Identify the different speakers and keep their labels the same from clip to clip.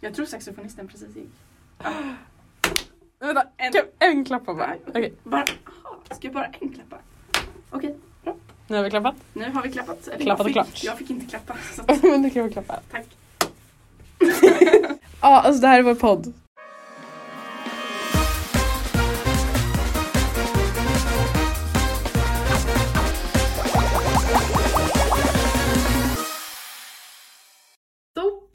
Speaker 1: Jag tror saxofonisten precis gick.
Speaker 2: Vänta,
Speaker 1: En.
Speaker 2: en, en klapp på bara. Okej,
Speaker 1: Bara, aha, ska jag bara en klappa? Okej,
Speaker 2: nu har vi klappat.
Speaker 1: nu har vi klappat. Eller
Speaker 2: Klappat och
Speaker 1: jag,
Speaker 2: klart.
Speaker 1: fick, jag fick inte klappa. Så att,
Speaker 2: Men nu kan vi klappa.
Speaker 1: tack.
Speaker 2: Ja, alltså det här är vår podd.
Speaker 3: Stopp!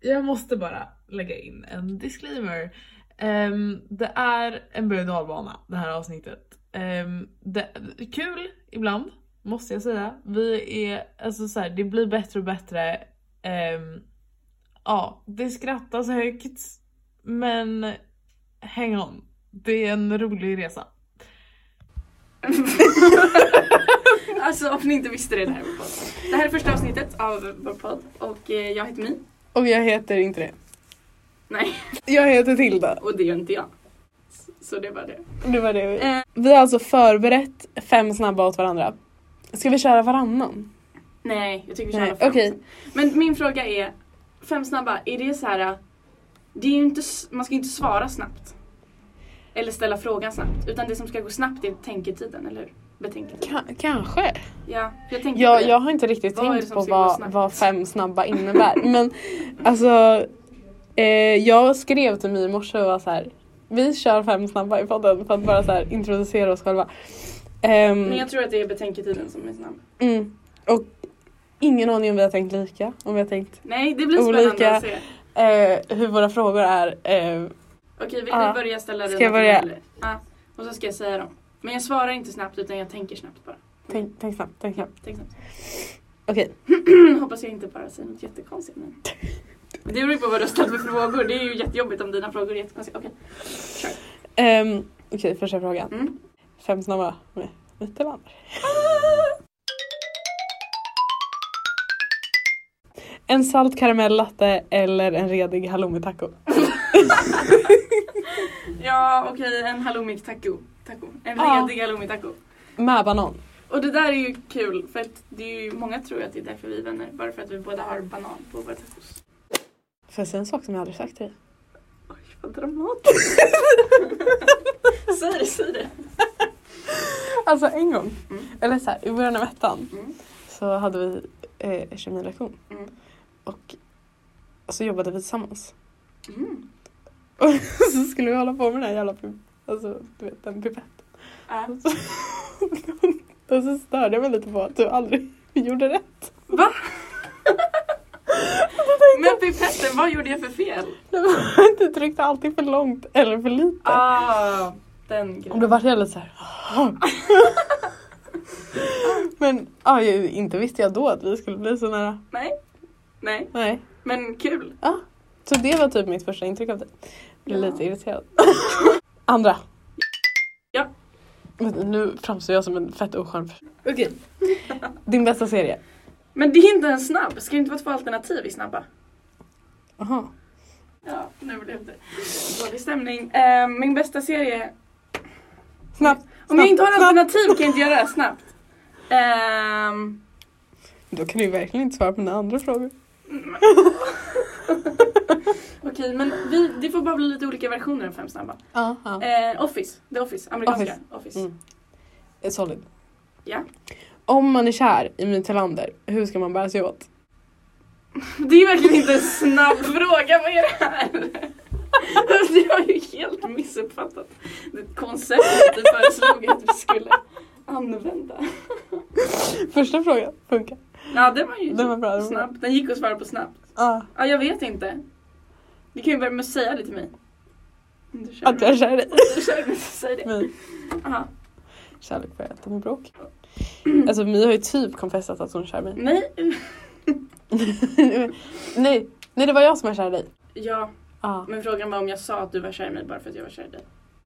Speaker 3: Jag måste bara lägga in en disclaimer. Ehm, det är en berg och dalbana det här avsnittet. Ehm, det, kul ibland, måste jag säga. Vi är, alltså så här, det blir bättre och bättre. Ehm, ja, det skrattas högt. Men hang on. Det är en rolig resa.
Speaker 1: Alltså om ni inte visste det, det här är vår podd. Det här är första avsnittet av vår podd och eh, jag heter Mi.
Speaker 2: Och jag heter inte det.
Speaker 1: Nej,
Speaker 2: Jag heter Tilda.
Speaker 1: och det gör inte jag. Så- Så det var det.
Speaker 2: Det var det vi...
Speaker 1: Eh,
Speaker 2: Vi har alltså förberett fem snabba åt varandra. Ska vi köra varannan?
Speaker 1: nej, jag tycker vi
Speaker 2: Nej,
Speaker 1: kör fem.
Speaker 2: okej.
Speaker 1: Men min fråga är, fem snabba, är det så här... eh, Det är ju inte, s- man ska ju inte svara snabbt. Eller ställa frågan snabbt. Utan det som ska gå snabbt är tänketiden, eller hur? Betänketiden.
Speaker 2: Ka- kanske.
Speaker 1: Ja, jag tänkte på
Speaker 2: Jag,
Speaker 1: det.
Speaker 2: jag har inte riktigt
Speaker 1: Vad är det
Speaker 2: tänkt
Speaker 1: som
Speaker 2: på
Speaker 1: ska gå
Speaker 2: vad,
Speaker 1: snabbt?
Speaker 2: vad fem snabba innebär. Men alltså, eh, jag skrev till mig i morse och var så här. Vi kör fem snabba i podden för att bara så här introducera oss själva. Ehm,
Speaker 1: Men jag tror att det är betänketiden som är snabb.
Speaker 2: mm, och ingen aning om vi har tänkt lika. Om vi har tänkt
Speaker 1: Nej, det blir
Speaker 2: Olika.
Speaker 1: spännande att se.
Speaker 2: eh, hur våra frågor är. Eh,
Speaker 1: Okej, vill
Speaker 2: Ja.
Speaker 1: du börja ställa
Speaker 2: Ska
Speaker 1: dina
Speaker 2: jag börja?
Speaker 1: frågor, eller? Ja, och så ska jag säga dem. Men jag svarar inte snabbt utan jag tänker snabbt bara.
Speaker 2: tänk, tänk snabbt, tänk snabbt.
Speaker 1: Tänk snabbt.
Speaker 2: Okej.
Speaker 1: Hoppas jag inte bara säger något jättekonstigt nu. Det beror ju på vad du har ställt för frågor. Det är ju jättejobbigt om dina frågor är jättekonstiga. Okej.
Speaker 2: Ehm, Okej, första frågan.
Speaker 1: Mm.
Speaker 2: Fem snabba med Mitterlander. En salt karamellatte eller en redig halloumitaco?
Speaker 1: Ja, okej. En halloumi taco. taco. En
Speaker 2: Ja.
Speaker 1: redig halloumi taco.
Speaker 2: Med banan.
Speaker 1: Och det där är ju kul för att det är ju många tror att det är därför vi är vänner. Bara för att vi båda har banan på våra tacos.
Speaker 2: Får jag säga en sak som jag aldrig sagt till dig?
Speaker 1: Oj, vad dramatiskt. säg det, säg det.
Speaker 2: Alltså en gång,
Speaker 1: Mm.
Speaker 2: eller så här, i början av ettan
Speaker 1: Mm.
Speaker 2: så hade vi eh, kemilektion
Speaker 1: Mm.
Speaker 2: och så jobbade vi tillsammans.
Speaker 1: Mm.
Speaker 2: Och så skulle vi hålla på med den här jävla pip- alltså, du vet, den pipetten.
Speaker 1: Ja.
Speaker 2: Och så, och så störde jag mig lite på att du aldrig gjorde rätt.
Speaker 1: Va?
Speaker 2: Och då tänkte
Speaker 1: Men
Speaker 2: jag,
Speaker 1: pipetten, vad gjorde jag för fel?
Speaker 2: det var- du tryckte alltid för långt eller för lite.
Speaker 1: Ah, den
Speaker 2: Och
Speaker 1: grejen.
Speaker 2: då vart jag lite såhär... Men ja, jag, inte visste jag då att vi skulle bli så nära.
Speaker 1: Nej, nej,
Speaker 2: Nej.
Speaker 1: men kul.
Speaker 2: Så det var typ mitt första intryck av dig. Blev
Speaker 1: Ja.
Speaker 2: lite irriterad. Andra.
Speaker 1: Ja.
Speaker 2: Men nu framstår jag som en fett oskön person.
Speaker 1: Okej.
Speaker 2: Din bästa serie?
Speaker 1: Men det är inte en snabb. Ska det inte vara två alternativ i snabba?
Speaker 2: Aha.
Speaker 1: Ja, nu blev det dålig stämning. Eh, min bästa serie...
Speaker 2: Snabbt.
Speaker 1: Om jag inte har
Speaker 2: snabbt, snabbt.
Speaker 1: alternativ kan jag inte göra det här snabbt. Ehm,
Speaker 2: Då kan du ju verkligen inte svara på mina andra frågor.
Speaker 1: mm. Okej, men vi, det får bara bli lite olika versioner av fem snabba.
Speaker 2: Ja.
Speaker 1: Eh, Office, The Office, amerikanska Office.
Speaker 2: Mm. Är Solid.
Speaker 1: Ja.
Speaker 2: Om man är kär i Mikael Tillander, hur ska man bära sig åt?
Speaker 1: Det är verkligen inte en snabb fråga, vad är det här? Alltså, Jag har ju helt missuppfattat det konceptet du föreslog att vi skulle använda.
Speaker 2: Första frågan funkar.
Speaker 1: Ja, den var ju
Speaker 2: Den var bra, den var bra.
Speaker 1: snabb. Den gick att svara på snabbt.
Speaker 2: Ah.
Speaker 1: Ja, jag vet inte. Du kan ju börja med att säga det till mig. Om Du kör
Speaker 2: Att jag är kär i dig.
Speaker 1: Du kör med, säg det.
Speaker 2: Men
Speaker 1: Aha.
Speaker 2: kärlek börjar äta med bråk. Alltså My har ju typ confessat att hon är kär i mig.
Speaker 1: Nej.
Speaker 2: nej, nej det var jag som är kär i dig.
Speaker 1: Ja,
Speaker 2: Ja.
Speaker 1: men frågan var om jag sa att du var kär i mig bara för att jag var kär i dig.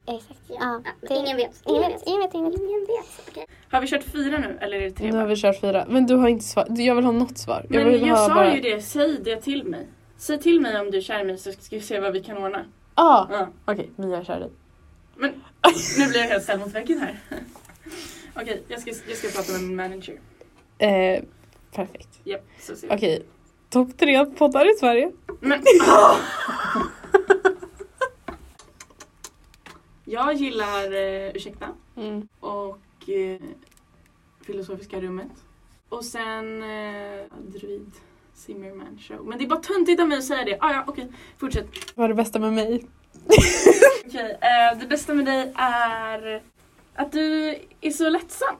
Speaker 4: Exakt. Ja. Det, ingen vet. Ingen vet. Ingen vet. Ingen vet. Ingen vet. Okej.
Speaker 1: Har vi kört fyra nu eller är det tre
Speaker 2: Nu har
Speaker 1: bara?
Speaker 2: vi kört fyra. Men du har inte svar. Du, Jag vill ha något svar.
Speaker 1: Men
Speaker 2: vill
Speaker 1: jag
Speaker 2: ha
Speaker 1: sa ju det, säg det till mig. Säg till mig om du är kär i mig så ska vi se vad vi kan ordna.
Speaker 2: Ah,
Speaker 1: Ja.
Speaker 2: Okej, My är kär i dig.
Speaker 1: Men nu blir jag helt ställd mot väggen här. Okej, jag, ska, jag ska prata med min manager.
Speaker 2: Eh, perfekt.
Speaker 1: Japp, så ser vi.
Speaker 2: Okej. Topp tre poddar i Sverige.
Speaker 1: Men jag gillar eh, Ursäkta
Speaker 2: Mm.
Speaker 1: och eh, Filosofiska rummet. Och sen eh, Druid Zimmerman show. Men det är bara töntigt av mig att säga det. Ah, ja, okej, fortsätt.
Speaker 2: Vad är det bästa med mig?
Speaker 1: Okej, eh, det bästa med dig är att du är så lättsam.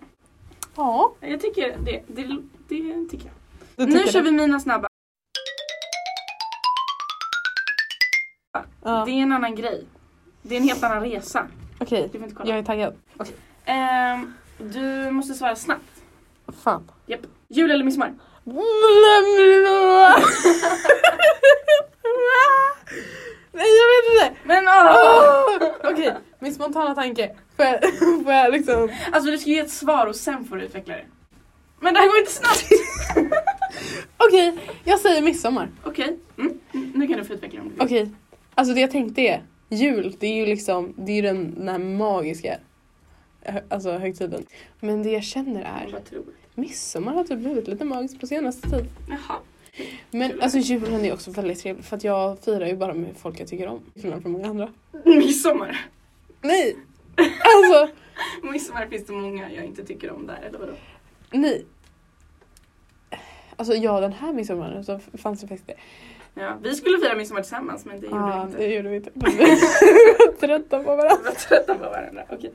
Speaker 2: Ja,
Speaker 1: Jag tycker det. Det, det tycker jag.
Speaker 2: det
Speaker 1: nu
Speaker 2: tycker
Speaker 1: kör
Speaker 2: jag.
Speaker 1: vi mina snabba.
Speaker 2: Ja.
Speaker 1: Det är en annan grej. Det är en helt annan resa.
Speaker 2: Okej,
Speaker 1: Du får inte kolla.
Speaker 2: jag är taggad.
Speaker 1: Ehm, du måste svara snabbt.
Speaker 2: Fan.
Speaker 1: Jul eller midsommar?
Speaker 2: Nej jag vet inte!
Speaker 1: Men åh!
Speaker 2: Åh! Okej, min spontana tanke. Får jag, får jag liksom...
Speaker 1: Alltså du ska ge ett svar och sen får du utveckla det. Men det här går inte snabbt!
Speaker 2: Okej, jag säger midsommar.
Speaker 1: Okej, mm. mm, nu kan du få utveckla det om du vill.
Speaker 2: Okej, alltså det jag tänkte är jul, det är ju liksom, det är ju den, den här magiska hö- alltså, högtiden. Men det jag känner
Speaker 1: Jag
Speaker 2: är
Speaker 1: bara tror.
Speaker 2: midsommar har typ blivit lite magiskt på senaste tid.
Speaker 1: Jaha.
Speaker 2: Men alltså julen är också väldigt trevlig för att jag firar ju bara med folk jag tycker om. Till skillnad från många andra.
Speaker 1: Midsommar.
Speaker 2: Nej! Alltså,
Speaker 1: Midsommar finns det många jag inte tycker om där, eller vadå?
Speaker 2: nej. Alltså ja, den här midsommaren så fanns det faktiskt
Speaker 1: Ja, vi skulle fira midsommar tillsammans men det gjorde vi
Speaker 2: Ja,
Speaker 1: inte.
Speaker 2: Ah, det gjorde vi inte. Vi var trötta på
Speaker 1: Vi
Speaker 2: varandra.
Speaker 1: var trötta på varandra. Okej.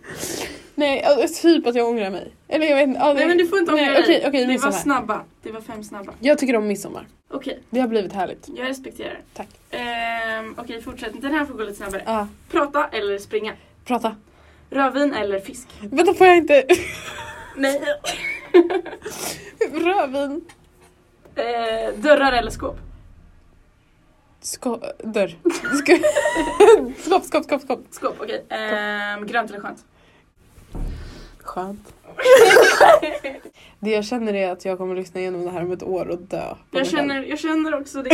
Speaker 2: Nej, alltså, typ att jag ångrar mig. Eller jag vet inte. ja,
Speaker 1: Nej men du får inte ångra
Speaker 2: Nej,
Speaker 1: dig.
Speaker 2: Okej, okej,
Speaker 1: det var
Speaker 2: midsommar.
Speaker 1: snabba. Det var fem snabba.
Speaker 2: Jag tycker om midsommar.
Speaker 1: Okej,
Speaker 2: Det har blivit härligt.
Speaker 1: jag respekterar.
Speaker 2: Tack.
Speaker 1: Ehm, okej, fortsätt. Den här får gå lite snabbare.
Speaker 2: Ja,
Speaker 1: Prata eller springa?
Speaker 2: Ah, prata.
Speaker 1: Rödvin eller fisk?
Speaker 2: Vänta, får jag inte...
Speaker 1: Nej.
Speaker 2: Rödvin.
Speaker 1: Eh, dörrar eller skåp?
Speaker 2: Sko... Dörr. Sko... Skåp, skåp, skåp, skåp.
Speaker 1: Skåp, okej. Ehm, grönt eller skönt?
Speaker 2: Skönt. Det jag känner är att jag kommer lyssna igenom det här om ett år och dö.
Speaker 1: Jag känner, jag känner också det.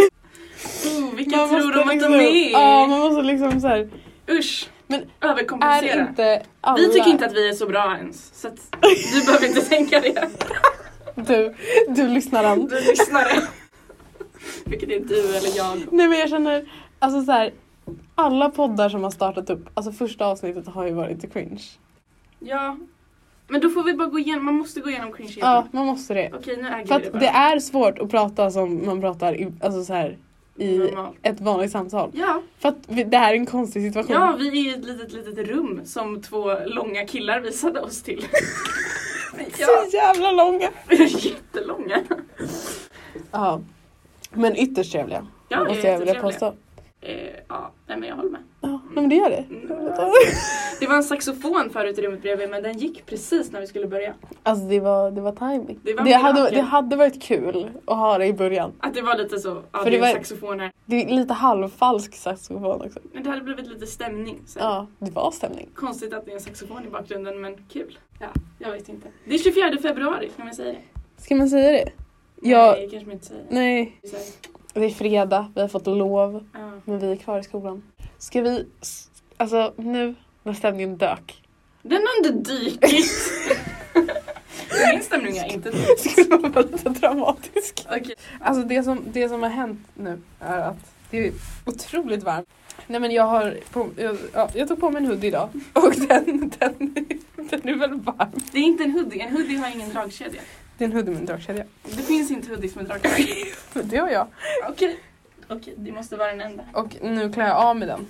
Speaker 1: Oh, vilka tror de att de är?
Speaker 2: liksom- Ja, man måste liksom så här.
Speaker 1: Usch.
Speaker 2: Men
Speaker 1: Överkompensera.
Speaker 2: Är inte alla...
Speaker 1: Vi tycker inte att vi är så bra ens. Så att du behöver inte tänka det.
Speaker 2: Du, du lyssnar an.
Speaker 1: Du lyssnare. Vilket är du eller jag.
Speaker 2: Nej men jag känner, alltså så här, alla poddar som har startat upp, alltså första avsnittet har ju varit lite cringe.
Speaker 1: Ja. Men då får vi bara gå igenom, man måste gå igenom cringe
Speaker 2: Ja, man måste det.
Speaker 1: Okej nu äger
Speaker 2: För
Speaker 1: vi det
Speaker 2: att
Speaker 1: bara.
Speaker 2: det är svårt att prata som man pratar i, alltså så här, i
Speaker 1: Normalt.
Speaker 2: ett vanligt samtal.
Speaker 1: Ja,
Speaker 2: För att vi, det här är en konstig situation.
Speaker 1: ja, vi är i ett litet, litet rum som två långa killar visade oss till. ja,
Speaker 2: Så jävla långa!
Speaker 1: jättelånga.
Speaker 2: Ja. Men ytterst trevliga,
Speaker 1: Ja,
Speaker 2: måste jag vilja
Speaker 1: jättetrevliga.
Speaker 2: påstå.
Speaker 1: Eh, ja, nej, men jag håller med.
Speaker 2: Ja, nej, men det gör det.
Speaker 1: Mm. Det var en saxofon förut i rummet bredvid men den gick precis när vi skulle börja.
Speaker 2: Alltså det var, det var timing.
Speaker 1: Det var
Speaker 2: det, hade,
Speaker 1: mirakel.
Speaker 2: det hade varit kul att ha det i början.
Speaker 1: Att det var lite så, ja det
Speaker 2: För det
Speaker 1: är en
Speaker 2: var-
Speaker 1: saxofon här.
Speaker 2: Det är lite halvfalsk saxofon också.
Speaker 1: Men det hade blivit lite stämning. Så.
Speaker 2: Ja, det var stämning.
Speaker 1: Konstigt att det är en saxofon i bakgrunden men kul. Ja, jag vet inte. Det är 24 februari, kan man säga det?
Speaker 2: Ska man säga det? Ja.
Speaker 1: Nej, det kanske man inte säger.
Speaker 2: Nej.
Speaker 1: Vi säger,
Speaker 2: Det är fredag, vi har fått lov,
Speaker 1: ja.
Speaker 2: men vi är kvar i skolan. Ska vi... s- Alltså nu när stämningen dök.
Speaker 1: Den har inte dykit! Min stämning är inte dykt.
Speaker 2: Skulle man vara lite dramatisk.
Speaker 1: Okej.
Speaker 2: Alltså det som, det som har hänt nu är att det är otroligt varmt. Nej men jag har... På, jag, ja, jag tog på mig en hoodie idag och den, den, den är väl varm.
Speaker 1: Det är inte en hoodie, en hoodie har ingen dragkedja.
Speaker 2: Det är en hoodie med en dragkedja.
Speaker 1: Det finns inte hoodies med dragkedja.
Speaker 2: Det har jag.
Speaker 1: Okej. Okej, det måste vara den enda.
Speaker 2: Och nu klär jag av mig den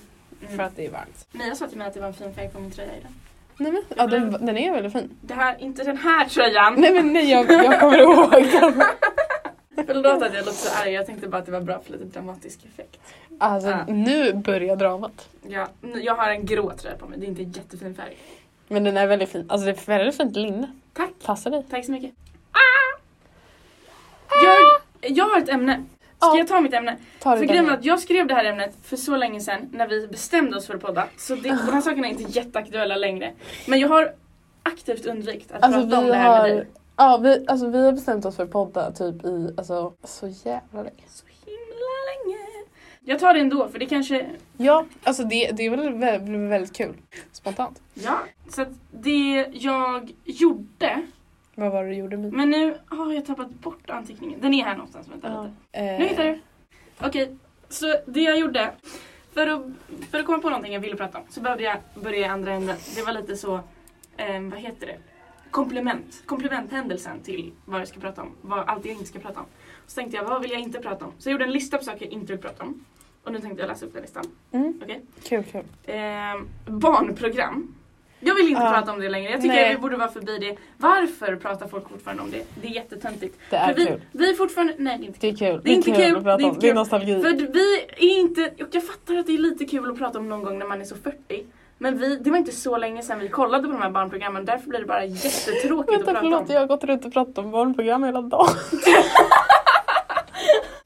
Speaker 2: för
Speaker 1: Mm.
Speaker 2: att det är varmt.
Speaker 1: Mia sa till mig att det var en fin färg på min tröja idag.
Speaker 2: Nej men ja, den, den är väldigt fin.
Speaker 1: Det här, inte den här tröjan!
Speaker 2: Nej men nej jag, jag kommer ihåg den.
Speaker 1: Förlåt att jag låter så arg, jag tänkte bara att det var bra för lite dramatisk effekt.
Speaker 2: Alltså
Speaker 1: Ja.
Speaker 2: nu börjar dramat.
Speaker 1: Ja, nu- jag har en grå tröja på mig, det är inte en jättefin färg.
Speaker 2: Men den är väldigt fin. Alltså det är väldigt fint linne.
Speaker 1: Tack!
Speaker 2: Passar dig.
Speaker 1: Tack så mycket. Ah! Jag, jag har ett ämne. Ska
Speaker 2: Ja.
Speaker 1: jag ta mitt ämne?
Speaker 2: Ta
Speaker 1: För
Speaker 2: det
Speaker 1: grejen var
Speaker 2: där.
Speaker 1: att jag skrev det här ämnet för så länge sedan när vi bestämde oss för att podda. Så det, de här sakerna är inte jätteaktuella längre. Men jag har aktivt undvikit att
Speaker 2: Alltså
Speaker 1: prata om
Speaker 2: vi
Speaker 1: det här med
Speaker 2: har,
Speaker 1: dig.
Speaker 2: ja, vi, alltså, vi har bestämt oss för att podda typ i alltså, så jävla länge.
Speaker 1: Så himla länge. Jag tar det ändå för det kanske...
Speaker 2: Ja, alltså det, det är väl väldigt, väldigt kul. Spontant.
Speaker 1: Ja. Så att det jag gjorde.
Speaker 2: Vad var det du gjorde med?
Speaker 1: Men nu har jag tappat bort
Speaker 2: Eh,
Speaker 1: anteckningen. Den är här någonstans. Vänta lite. Nu hittar du. Okej, så det jag gjorde För att, för att komma på någonting jag ville prata om så behövde jag börja i andra änden. Det var lite så, eh, vad heter det? Komplement. Komplementhändelsen till vad jag ska prata om. Vad, allt jag inte ska prata om. Så tänkte jag, vad vill jag inte prata om? Så jag gjorde en lista på saker jag inte vill prata om. Och nu tänkte jag läsa upp den listan.
Speaker 2: Mm.
Speaker 1: Okej.
Speaker 2: Kul, kul.
Speaker 1: Eh, barnprogram. Jag vill inte
Speaker 2: Ja.
Speaker 1: prata om det längre. Jag tycker
Speaker 2: Nej.
Speaker 1: vi borde vara förbi det. Varför pratar folk fortfarande om det? Det är jättetöntigt.
Speaker 2: Det är
Speaker 1: För vi,
Speaker 2: kul.
Speaker 1: vi är fortfarande... Nej, det är inte
Speaker 2: Det är kul.
Speaker 1: Det är inte kul,
Speaker 2: att prata
Speaker 1: det är
Speaker 2: om.
Speaker 1: inte
Speaker 2: Det är
Speaker 1: kul.
Speaker 2: nostalgi.
Speaker 1: för vi är inte, och jag fattar att det är lite kul att prata om någon gång när man är så 40. Men vi, det var inte så länge sedan vi kollade på de här barnprogrammen därför blir det bara jättetråkigt att
Speaker 2: Vänta
Speaker 1: prata om.
Speaker 2: förlåt, jag har gått runt och pratat om barnprogram hela dagen.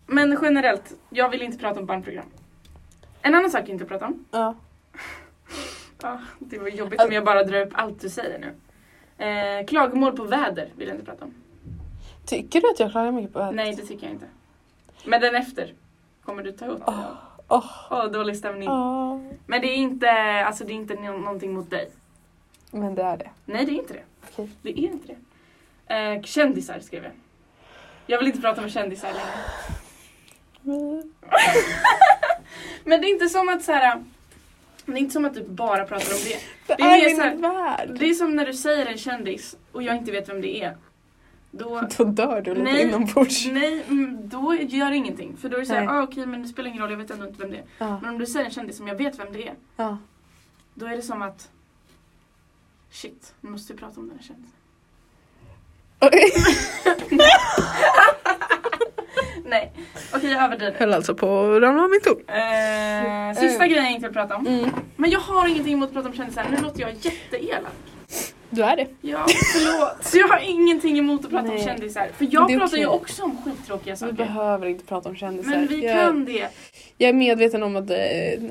Speaker 1: Men generellt, jag vill inte prata om barnprogram. En annan sak jag inte pratar om.
Speaker 2: Ja.
Speaker 1: Ah, det var jobbigt om jag bara drar upp allt du säger nu. Eh, klagomål på väder vill jag inte prata om.
Speaker 2: Tycker du att jag klagar mycket på vädret?
Speaker 1: Nej, det tycker jag inte. Men den efter kommer du ta upp. Åh,
Speaker 2: Åh.
Speaker 1: dålig stämning.
Speaker 2: Ja.
Speaker 1: Men det är inte, alltså, det är inte nå- någonting mot dig.
Speaker 2: Men det är det.
Speaker 1: Nej, det är inte det.
Speaker 2: Okej.
Speaker 1: Det är inte det. Eh, kändisar skrev jag. Jag vill inte prata om kändisar längre.
Speaker 2: Men-
Speaker 1: Men det är inte som att så här. Det är inte som att du bara pratar om det.
Speaker 2: Det,
Speaker 1: Det är
Speaker 2: är,
Speaker 1: mer
Speaker 2: min
Speaker 1: så här-
Speaker 2: värld.
Speaker 1: Det är som när du säger en kändis och jag inte vet vem det är. Då,
Speaker 2: Då dör du lite
Speaker 1: Nej.
Speaker 2: inombords.
Speaker 1: nej, mm, då gör det ingenting. För då är det såhär,
Speaker 2: Nej.
Speaker 1: ah, okej men det spelar ingen roll, jag vet ändå inte vem det är.
Speaker 2: Ja.
Speaker 1: Men om du säger en kändis som jag vet vem det är,
Speaker 2: Ja.
Speaker 1: då är det som att Shit, nu måste vi prata om den här kändisen.
Speaker 2: Oj.
Speaker 1: Nej, okej jag överdriver.
Speaker 2: Höll alltså på att ramla av min stol.
Speaker 1: Eh, sista
Speaker 2: Eh.
Speaker 1: grejen jag inte vill prata om.
Speaker 2: Mm.
Speaker 1: Men jag har ingenting emot att prata om kändisar, nu låter jag jätteelak.
Speaker 2: Du är det.
Speaker 1: Ja, förlåt. Så jag har ingenting emot att prata om
Speaker 2: Nej.
Speaker 1: kändisar. För jag
Speaker 2: Det är
Speaker 1: pratar ju
Speaker 2: okej.
Speaker 1: också om skittråkiga
Speaker 2: Vi
Speaker 1: saker.
Speaker 2: behöver inte prata om kändisar.
Speaker 1: Men vi
Speaker 2: jag,
Speaker 1: kan det.
Speaker 2: jag är medveten om att, eh,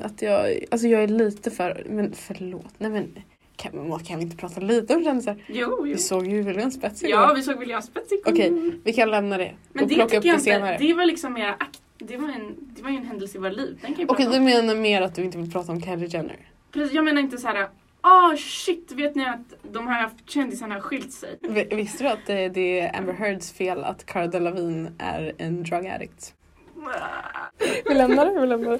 Speaker 2: att jag, alltså jag är lite för... Men förlåt. Nej men kan, man kan vi inte prata lite om kändisar?
Speaker 1: Jo, jo.
Speaker 2: Vi såg ju William Spets igår.
Speaker 1: Ja, vi såg William Spets i
Speaker 2: Okej,
Speaker 1: Kungälv.
Speaker 2: Mm. vi kan lämna det
Speaker 1: Men
Speaker 2: och
Speaker 1: det
Speaker 2: plocka upp
Speaker 1: tycker jag
Speaker 2: det
Speaker 1: inte.
Speaker 2: senare.
Speaker 1: Det var liksom mer akt... Det var, en, det var ju en händelse i våra liv. Den kan jag
Speaker 2: Okej,
Speaker 1: prata
Speaker 2: du
Speaker 1: om.
Speaker 2: menar mer att du inte vill prata om Kylie Jenner?
Speaker 1: Precis, jag menar inte så här. Ah shit, vet ni att de här kändisarna har skilt sig?
Speaker 2: Vi- Visste du att det, det är Amber Heards fel att Cara Delevingne är en drug addict? Vi lämnar det, vi lämnar det.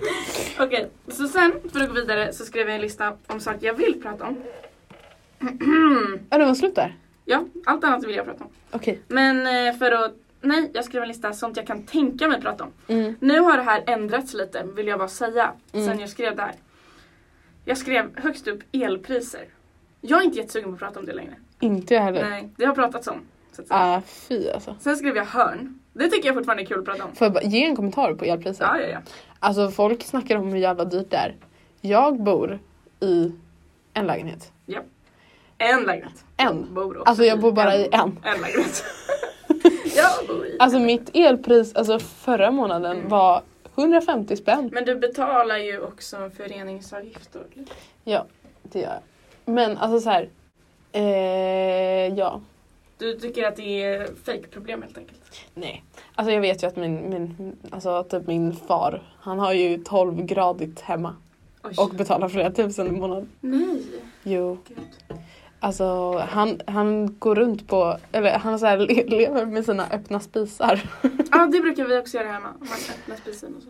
Speaker 1: Okej, så sen för att gå vidare så skrev jag en lista om saker jag vill prata om.
Speaker 2: Ja, det var slut där.
Speaker 1: ja, allt annat vill jag prata om.
Speaker 2: Okej.
Speaker 1: Men eh, för att... Nej, jag skrev en lista sånt jag kan tänka mig prata om.
Speaker 2: Mm.
Speaker 1: Nu har det här ändrats lite vill jag bara säga
Speaker 2: Mm.
Speaker 1: sen jag skrev det här. Jag skrev högst upp elpriser. Jag är inte jättesugen på att prata om det längre.
Speaker 2: Inte jag heller.
Speaker 1: Nej, det har pratats om. Så att säga.
Speaker 2: Ah, fy alltså.
Speaker 1: Sen skrev jag hörn. Det tycker jag fortfarande är kul att prata om.
Speaker 2: Får jag bara ge en kommentar på elpriset?
Speaker 1: Ja, ja, ja.
Speaker 2: Alltså folk snackar om hur jävla dyrt det är. Jag bor i en lägenhet.
Speaker 1: En lägenhet.
Speaker 2: En.
Speaker 1: Bor också
Speaker 2: Alltså jag bor bara i en.
Speaker 1: En lägenhet. jag bor i.
Speaker 2: Alltså mitt elpris alltså förra månaden
Speaker 1: Mm.
Speaker 2: var 150 spänn.
Speaker 1: Men du betalar ju också en föreningsavgift då. eller?
Speaker 2: Ja, det gör jag. Men alltså så här. Eh, ja.
Speaker 1: Du tycker att det är fejkproblem helt enkelt.
Speaker 2: Nej. Alltså jag vet ju att min, min, alltså typ min far, han har ju 12-gradigt hemma
Speaker 1: Oj.
Speaker 2: och betalar flera tusen i månaden.
Speaker 1: Nej.
Speaker 2: Jo.
Speaker 1: Gud.
Speaker 2: Alltså han, han går runt på, eller han så här le, lever med sina öppna spisar.
Speaker 1: Ja, det brukar vi också göra hemma. Man öppnar spisen och så.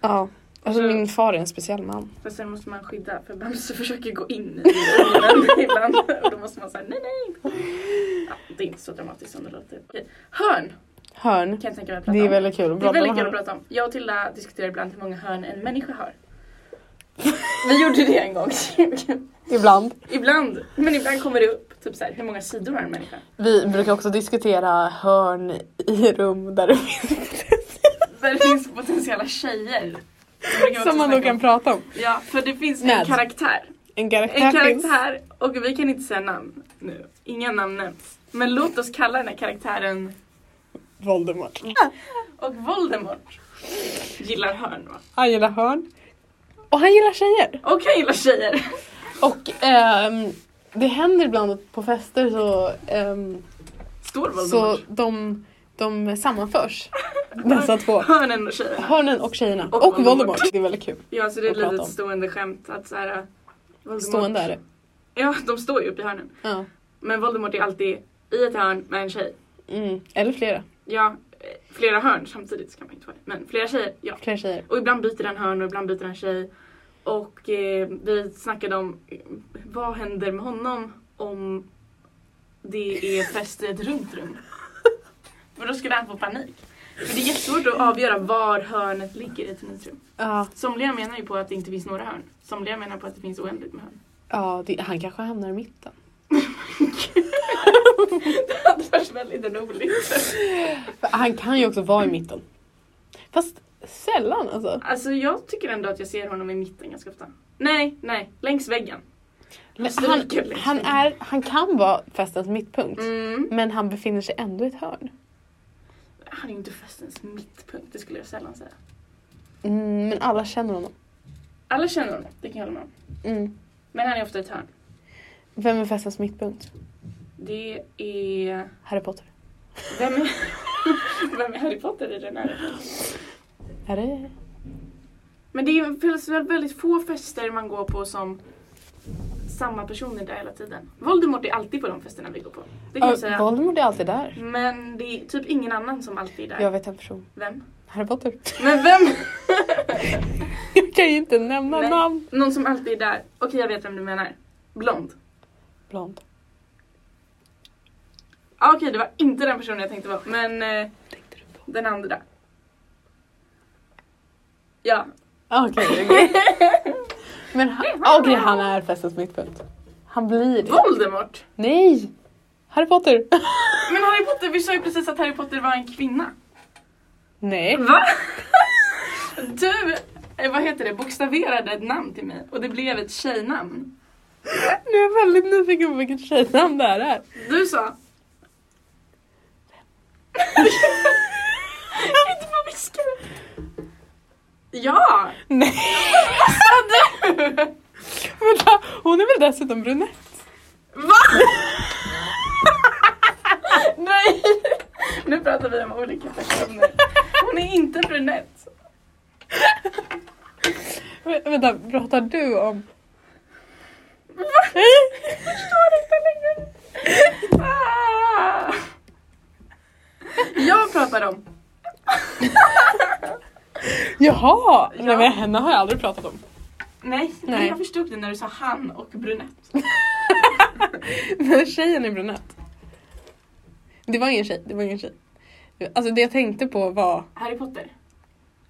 Speaker 2: Ja. Alltså
Speaker 1: Alltså-
Speaker 2: min far är en speciell man.
Speaker 1: Fast sen måste man skydda för Bamse försöker gå in i bilen ibland. Och då måste man säga nej, nej. Ja, det är inte så dramatiskt som det låter. Okej. Hörn
Speaker 2: Hörn.
Speaker 1: kan jag tänka mig att prata
Speaker 2: Det är
Speaker 1: om.
Speaker 2: väldigt kul.
Speaker 1: det är väldigt
Speaker 2: om
Speaker 1: kul att
Speaker 2: hörn.
Speaker 1: prata om. Jag och Tilda diskuterar ibland hur många hörn en människa har. Vi gjorde det en gång.
Speaker 2: Ibland.
Speaker 1: ibland. Men ibland kommer det upp typ så här, hur många sidor har en människa?
Speaker 2: Vi brukar också diskutera hörn i rum där det finns
Speaker 1: Där det finns potentiella tjejer. Det brukar vi också
Speaker 2: som man då
Speaker 1: snacka
Speaker 2: kan
Speaker 1: om.
Speaker 2: prata om.
Speaker 1: Ja, för det finns en
Speaker 2: Med.
Speaker 1: karaktär.
Speaker 2: En
Speaker 1: En
Speaker 2: karaktär finns.
Speaker 1: karaktär, och vi kan inte säga namn nu. Inga namn nämns. Men låt oss kalla den här karaktären
Speaker 2: Voldemort.
Speaker 1: Och Voldemort gillar hörn va?
Speaker 2: Han gillar hörn. Och han gillar tjejer.
Speaker 1: Och han gillar tjejer.
Speaker 2: Och ehm, det händer ibland att på fester så, ehm,
Speaker 1: Står
Speaker 2: så
Speaker 1: Voldemort?
Speaker 2: de, de sammanförs. Dessa två.
Speaker 1: Hörnen och tjejerna.
Speaker 2: Hörnen och tjejerna.
Speaker 1: Och
Speaker 2: Och,
Speaker 1: Voldemort.
Speaker 2: Voldemort. Det är väldigt kul.
Speaker 1: Ja, så det är
Speaker 2: Och
Speaker 1: ett litet
Speaker 2: prata om.
Speaker 1: stående skämt att så här, äh, Voldemort...
Speaker 2: Stående är det.
Speaker 1: Ja, de står ju uppe i hörnen.
Speaker 2: Ja.
Speaker 1: Men Voldemort är alltid i ett hörn med en tjej.
Speaker 2: Mm. Eller flera.
Speaker 1: Ja, flera hörn samtidigt så kan man inte vara det. Men flera tjejer, ja.
Speaker 2: Fler tjejer.
Speaker 1: Och ibland byter en hörn och ibland byter en tjej. Och eh, vi snackade om eh, vad händer med honom om det är fest i ett runt rum. För då skulle han få panik. För det är jättesvårt att avgöra var hörnet ligger i ett runt rum.
Speaker 2: Ja,
Speaker 1: Somliga menar ju på att det inte finns några hörn. Somliga menar på att det finns oändligt med hörn.
Speaker 2: ja det, han kanske hamnar i mitten.
Speaker 1: det hade varit väldigt roligt.
Speaker 2: För Han kan ju också vara i mitten. Fast sällan alltså.
Speaker 1: Alltså jag tycker ändå att jag ser honom i mitten ganska ofta. Nej, nej, längs väggen.
Speaker 2: Men Han,
Speaker 1: Österrike, liksom.
Speaker 2: han, är, han kan vara festens mittpunkt.
Speaker 1: Mm.
Speaker 2: Men han befinner sig ändå i ett hörn.
Speaker 1: Han är ju inte festens mittpunkt, det skulle jag sällan säga.
Speaker 2: Mm, men alla känner honom.
Speaker 1: Alla känner honom, det kan jag hålla med om.
Speaker 2: Mm.
Speaker 1: Men han är ofta i ett hörn.
Speaker 2: Vem är festens mittpunkt?
Speaker 1: Det är...
Speaker 2: Harry Potter.
Speaker 1: Vem är, Vem är Harry Potter i den här?
Speaker 2: Är det...
Speaker 1: Men det är- finns väl väldigt få fester man går på som samma person är där hela tiden. Voldemort är alltid på de festerna vi går på. Det kan jag
Speaker 2: Ja,
Speaker 1: säga.
Speaker 2: Voldemort är alltid där.
Speaker 1: Men det är typ ingen annan som alltid är där.
Speaker 2: Jag vet en person.
Speaker 1: Vem?
Speaker 2: Harry Potter.
Speaker 1: Men vem?
Speaker 2: Jag kan ju inte nämna
Speaker 1: Nej.
Speaker 2: namn.
Speaker 1: Någon som alltid är där. Okej, jag vet vem du menar. Blond.
Speaker 2: Blond.
Speaker 1: Ah, Okej, det var inte den personen jag tänkte vara, men eh, den andra. Ja,
Speaker 2: Ah, Okej. okej. men han, okej, han är festens mittpunkt. Han blir det.
Speaker 1: Voldemort!
Speaker 2: Nej! Harry Potter.
Speaker 1: Men Harry Potter, vi sa ju precis att Harry Potter var en kvinna.
Speaker 2: Nej.
Speaker 1: Va? Du, eh, vad heter det, bokstaverade ett namn till mig och det blev ett tjejnamn.
Speaker 2: Nu är jag väldigt nyfiken på vilket tjejnamn det här är.
Speaker 1: Du sa... jag kan inte få viska det. Ja!
Speaker 2: Nej.
Speaker 1: Vad sa du?
Speaker 2: Vänta, hon är väl dessutom brunett?
Speaker 1: Va? Nej! Nu pratar vi om olika personer. Hon är inte brunett.
Speaker 2: Vä- Vänta, pratar du om...
Speaker 1: Va? Jag förstår inte längre. Ah. Jag pratar om...
Speaker 2: Jaha!
Speaker 1: Ja.
Speaker 2: Nej men henne har jag aldrig pratat om.
Speaker 1: Nej,
Speaker 2: Nej.
Speaker 1: jag förstod det när du sa han och brunett.
Speaker 2: Men tjejen är brunett. Det var ingen tjej, det var ingen tjej. Alltså det jag tänkte på var...
Speaker 1: Harry Potter.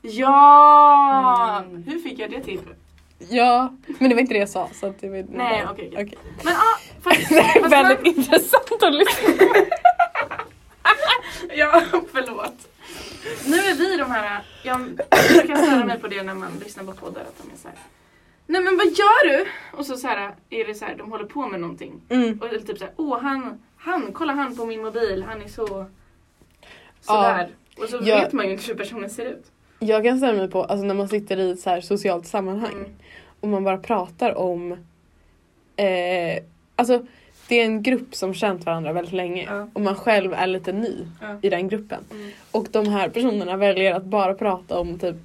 Speaker 1: Ja!
Speaker 2: Mm.
Speaker 1: Hur fick jag det till?
Speaker 2: Ja, men det var inte det jag sa. Så att det var...
Speaker 1: Nej, okej, okej.
Speaker 2: Okej.
Speaker 1: Men ah, fast,
Speaker 2: Det är
Speaker 1: fast
Speaker 2: väldigt intressant att lyssna på.
Speaker 1: Ja, förlåt. Nu är vi de här, jag, jag kan störa mig på det när man lyssnar på poddar att de är så här. Nej men vad gör du? Och så, så här, är det så här, de håller på med någonting.
Speaker 2: Mm.
Speaker 1: Och det är typ så här, åh han, han, kolla han på min mobil, han är så,
Speaker 2: Ja.
Speaker 1: sådär. Och så
Speaker 2: Jag-
Speaker 1: vet man ju inte hur personen ser ut.
Speaker 2: Jag kan ställa mig på, alltså när man sitter i ett så här socialt sammanhang
Speaker 1: Mm.
Speaker 2: och man bara pratar om... Eh, alltså det är en grupp som känt varandra väldigt länge
Speaker 1: Ja.
Speaker 2: och man själv är lite ny
Speaker 1: Ja.
Speaker 2: i den gruppen.
Speaker 1: Mm.
Speaker 2: Och de här personerna väljer att bara prata om typ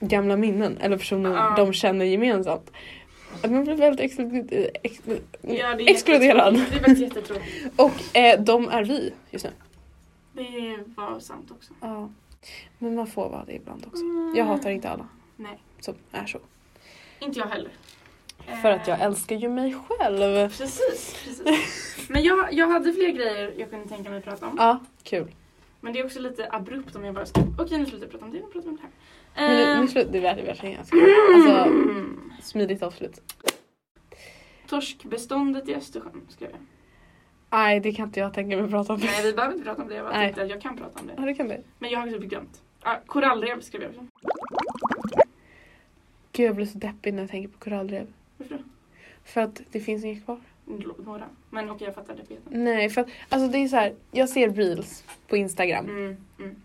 Speaker 2: gamla minnen eller personer
Speaker 1: Ja.
Speaker 2: de känner gemensamt. Att Man blir väldigt exklu- ex-
Speaker 1: Ja, det är
Speaker 2: exkluderad.
Speaker 1: jättetråkigt. Det är faktiskt jättetråkigt.
Speaker 2: Och eh, de är vi just nu.
Speaker 1: Det var sant också.
Speaker 2: Ja. Men man får vara det ibland också. Jag hatar inte alla
Speaker 1: Mm. Nej,
Speaker 2: som är så.
Speaker 1: inte jag heller.
Speaker 2: För att jag
Speaker 1: Eh,
Speaker 2: älskar ju mig själv.
Speaker 1: Precis, precis. Men jag, jag hade fler grejer jag kunde tänka mig att prata om.
Speaker 2: Ja, kul.
Speaker 1: Men det är också lite abrupt om jag bara ska, okej nu slutar jag prata om det, nu pratar vi om det
Speaker 2: Men
Speaker 1: här.
Speaker 2: nu,
Speaker 1: Ehm,
Speaker 2: nu slut, det var det verkligen jag skulle. Alltså,
Speaker 1: mm.
Speaker 2: smidigt avslut.
Speaker 1: Torskbeståndet i Östersjön skrev jag.
Speaker 2: Nej, det kan inte jag tänka mig att prata om.
Speaker 1: Nej vi behöver inte prata om det, jag bara
Speaker 2: Nej.
Speaker 1: tänkte att jag kan prata om det.
Speaker 2: Ja, det kan det.
Speaker 1: Men jag har typ glömt. Ah, korallrev skrev jag också.
Speaker 2: Gud, jag blir så deppig när jag tänker på korallrev.
Speaker 1: Varför då?
Speaker 2: För att det finns inget kvar.
Speaker 1: Nå- Några. Men okej jag fattar det. vet jag.
Speaker 2: Nej, för att alltså det är så här. Jag ser reels på Instagram.
Speaker 1: Mm, mm.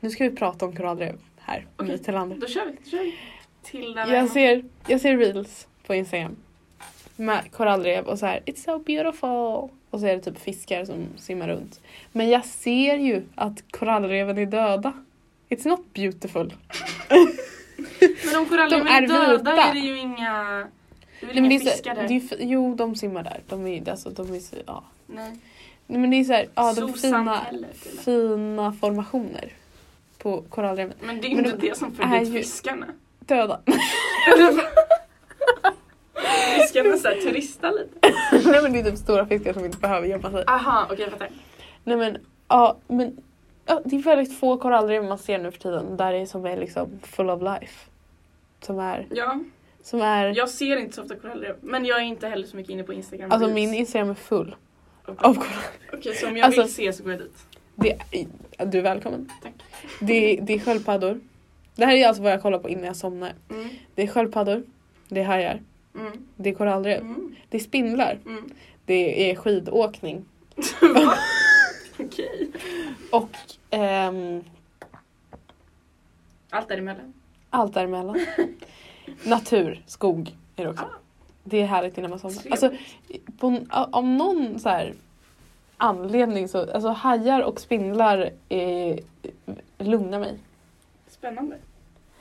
Speaker 2: Nu ska vi prata om korallrev här.
Speaker 1: Okej.
Speaker 2: Okay. Nytelander.
Speaker 1: mm. Då kör vi, då kör vi. Till den
Speaker 2: Jag ser, jag ser reels på Instagram med korallrev och så här It's so beautiful. Och så är det typ fiskar som simmar runt. Men jag ser ju att korallreven är döda. It's not beautiful.
Speaker 1: Men om korallreven
Speaker 2: De är
Speaker 1: är döda
Speaker 2: vita.
Speaker 1: är det ju inga, det är väl
Speaker 2: Nej, men det
Speaker 1: inga
Speaker 2: är så,
Speaker 1: fiskar där?
Speaker 2: det är, ju f- jo, de simmar där. De är, alltså, de är, så- ja.
Speaker 1: Nej.
Speaker 2: Nej, Men det är så här, ja, de fina,
Speaker 1: Solsamhället, eller? typ
Speaker 2: fina formationer på korallreven.
Speaker 1: Men det är
Speaker 2: Men
Speaker 1: inte
Speaker 2: de
Speaker 1: det som
Speaker 2: är
Speaker 1: följde
Speaker 2: ju-
Speaker 1: fiskarna.
Speaker 2: Döda.
Speaker 1: fiskarna såhär turistar lite.
Speaker 2: Nej men det är typ stora fiskar som inte behöver gömma sig.
Speaker 1: Aha, okej jag fattar.
Speaker 2: Nej men, ja men ja, det är väldigt få korallrev man ser nu för tiden där det är som är liksom full of life. Som är,
Speaker 1: Ja,
Speaker 2: som är,
Speaker 1: jag ser inte så ofta korallrev. Men jag är inte heller så mycket inne på Instagram.
Speaker 2: alltså
Speaker 1: Reels.
Speaker 2: min Instagram är full
Speaker 1: Okej.
Speaker 2: av korallrev.
Speaker 1: Okej, så om jag
Speaker 2: Alltså-
Speaker 1: vill se så går jag dit.
Speaker 2: Det, du är välkommen.
Speaker 1: Tack.
Speaker 2: Det, det är sköldpaddor. Det här är alltså vad jag kollar på innan jag somnar.
Speaker 1: Mm,
Speaker 2: Det är sköldpaddor, det är hajar,
Speaker 1: mm,
Speaker 2: det är korallrev,
Speaker 1: mm,
Speaker 2: det är spindlar,
Speaker 1: mm.
Speaker 2: det är skidåkning
Speaker 1: Va? Okej.
Speaker 2: och ehm,
Speaker 1: Allt däremellan.
Speaker 2: allt däremellan. Natur, skog är det också.
Speaker 1: Ah.
Speaker 2: Det är härligt innan man somnar.
Speaker 1: Trevligt.
Speaker 2: Alltså, på, om någon så här anledning så, alltså hajar och spindlar eh, lugnar mig.
Speaker 1: Spännande.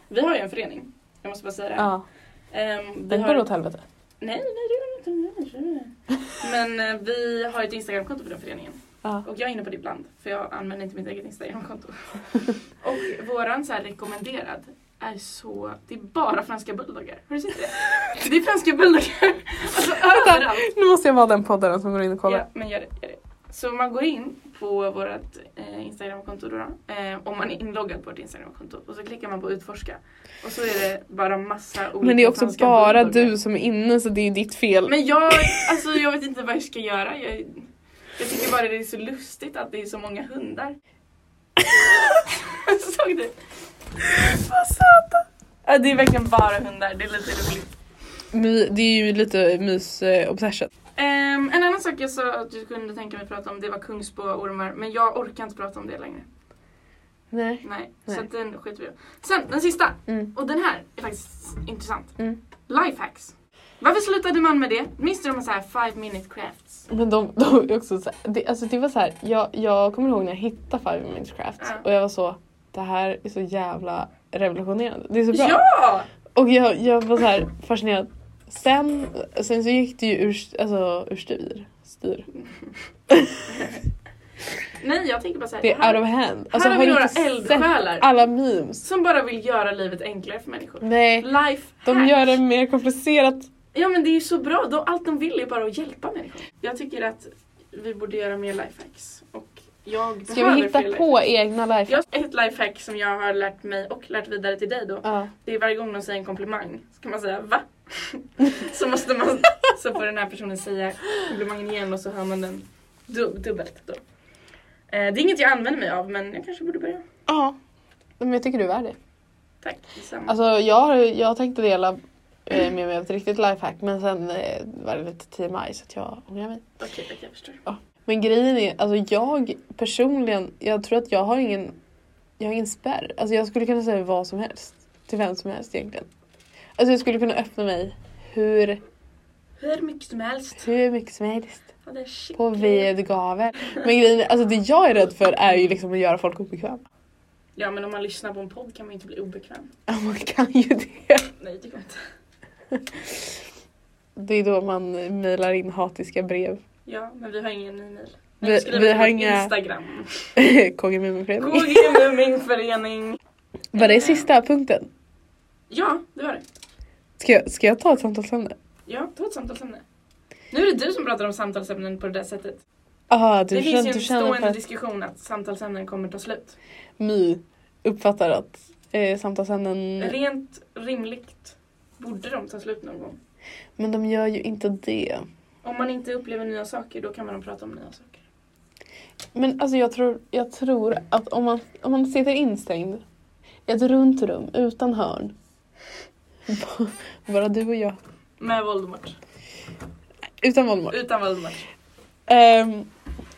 Speaker 1: Vi har ju en förening. Jag måste bara säga det.
Speaker 2: Ja,
Speaker 1: Ehm, vi
Speaker 2: den
Speaker 1: har...
Speaker 2: går åt helvete.
Speaker 1: Nej, nej det gör inte. Nej, det gör inte. Men eh, vi har ett Instagramkonto för den föreningen.
Speaker 2: Ja.
Speaker 1: Och jag är inne på det ibland. För jag använder inte mitt eget Instagramkonto. Och våran så här rekommenderad är så... Det är bara franska bulldoggar. Har du sett det? Det är franska bulldoggar. Alltså överallt.
Speaker 2: Nu måste jag vara den poddaren som går in och kollar.
Speaker 1: Ja, men gör det, gör det. Så man går in på vårt eh, Instagramkonto då, då eh, om man är inloggad på vårt Instagramkonto och så klickar man på utforska och så är det bara massa olika
Speaker 2: Men det är också
Speaker 1: franska
Speaker 2: bara
Speaker 1: bulldoggar.
Speaker 2: du som är inne så det är ju ditt fel.
Speaker 1: Men jag, alltså jag vet inte vad jag ska göra. Jag, jag tycker bara det är så lustigt att det är så många hundar. Såg du?
Speaker 2: vad söta!
Speaker 1: Ja, det är verkligen bara hundar, det är lite roligt.
Speaker 2: My, det är ju lite eh, mys-obsession.
Speaker 1: Ehm, en annan sak jag sa att du kunde tänka mig prata om det var kungsboaormar men jag orkar inte prata om det längre.
Speaker 2: Nej.
Speaker 1: Nej,
Speaker 2: Nej.
Speaker 1: så att den skiter vi i. Sen den sista.
Speaker 2: Mm.
Speaker 1: Och den här är faktiskt intressant.
Speaker 2: Mm.
Speaker 1: Lifehacks. Varför slutade man med det? Minns du de här så här five minute crafts?
Speaker 2: Men de, de är också så här, det, alltså det var så här, jag, jag kommer ihåg när jag hittade Five Minutes Craft
Speaker 1: Ja.
Speaker 2: och jag var så, det här är så jävla revolutionerande. Det är så bra.
Speaker 1: Ja!
Speaker 2: Och jag, jag var så här fascinerad. Sen, sen så gick det ju ur, alltså, ur styr. styr.
Speaker 1: Nej, jag tänker bara så här.
Speaker 2: Det
Speaker 1: här,
Speaker 2: är out of hand. Alltså,
Speaker 1: här har
Speaker 2: har
Speaker 1: vi
Speaker 2: du
Speaker 1: några
Speaker 2: inte sett
Speaker 1: eldsjälar
Speaker 2: alla memes?
Speaker 1: som bara vill göra livet enklare för människor.
Speaker 2: Nej,
Speaker 1: Life
Speaker 2: de gör det mer komplicerat.
Speaker 1: Ja men det är ju så bra, de, allt de vill är bara att hjälpa människor. Jag tycker att vi borde göra mer lifehacks. Och jag
Speaker 2: Ska
Speaker 1: behöver
Speaker 2: vi hitta
Speaker 1: fler lifehacks.
Speaker 2: på egna life?
Speaker 1: Jag, ett lifehack som jag har lärt mig och lärt vidare till dig då.
Speaker 2: Ja.
Speaker 1: Det är varje gång någon säger en komplimang så kan man säga va? så måste man, så får den här personen säga komplimangen igen och så hör man den du, dubbelt då. Eh, det är inget jag använder mig av men jag kanske borde börja.
Speaker 2: Ja. Men jag tycker du är värd det.
Speaker 1: Tack, detsamma.
Speaker 2: Alltså jag, har- jag tänkte dela eh, med mig av ett riktigt lifehack men sen eh, var det lite TMI så att jag ångrar mig.
Speaker 1: Okej, okej, jag förstår.
Speaker 2: Men grejen är, alltså jag personligen, jag tror att jag har ingen, jag har ingen spärr. Alltså jag skulle kunna säga vad som helst till vem som helst egentligen. Alltså jag skulle kunna öppna mig hur,
Speaker 1: Hur mycket som helst.
Speaker 2: hur mycket som helst
Speaker 1: Ja, det är shit.
Speaker 2: på vid gavel. Men grejen är, alltså det jag är rädd för är ju liksom att göra folk obekväma.
Speaker 1: Ja men om man lyssnar på en podd kan man ju inte bli obekväm.
Speaker 2: Ja, Man kan ju det.
Speaker 1: Nej det tycker jag inte.
Speaker 2: Det är då man mejlar in hatiska brev.
Speaker 1: Ja men vi har ingen e-mail. Nej,
Speaker 2: Vi-
Speaker 1: skriver
Speaker 2: vi
Speaker 1: på
Speaker 2: har
Speaker 1: vårt
Speaker 2: inga-
Speaker 1: Instagram.
Speaker 2: KGMUM-förening.
Speaker 1: KG Mummingförening.
Speaker 2: Var
Speaker 1: Eh.
Speaker 2: det sista punkten?
Speaker 1: Ja det var det.
Speaker 2: Ska jag, ska jag ta ett samtalsämne?
Speaker 1: Ja, ta ett samtalsämne. Nu är det du som pratar om samtalsämnen på det där sättet.
Speaker 2: Ah, du
Speaker 1: det
Speaker 2: känner,
Speaker 1: finns ju en
Speaker 2: du känner
Speaker 1: stående
Speaker 2: för att
Speaker 1: diskussion att samtalsämnen kommer ta slut.
Speaker 2: My uppfattar att eh, samtalsämnen...
Speaker 1: Rent rimligt borde de ta slut någon gång.
Speaker 2: Men de gör ju inte det.
Speaker 1: Om man inte upplever nya saker då kan man prata om nya saker.
Speaker 2: Men alltså jag tror, jag tror att om man, om man sitter instängd i ett runt rum utan hörn. b- Bara du och jag.
Speaker 1: Med Voldemort.
Speaker 2: Utan Voldemort.
Speaker 1: Utan Voldemort.
Speaker 2: Ehm,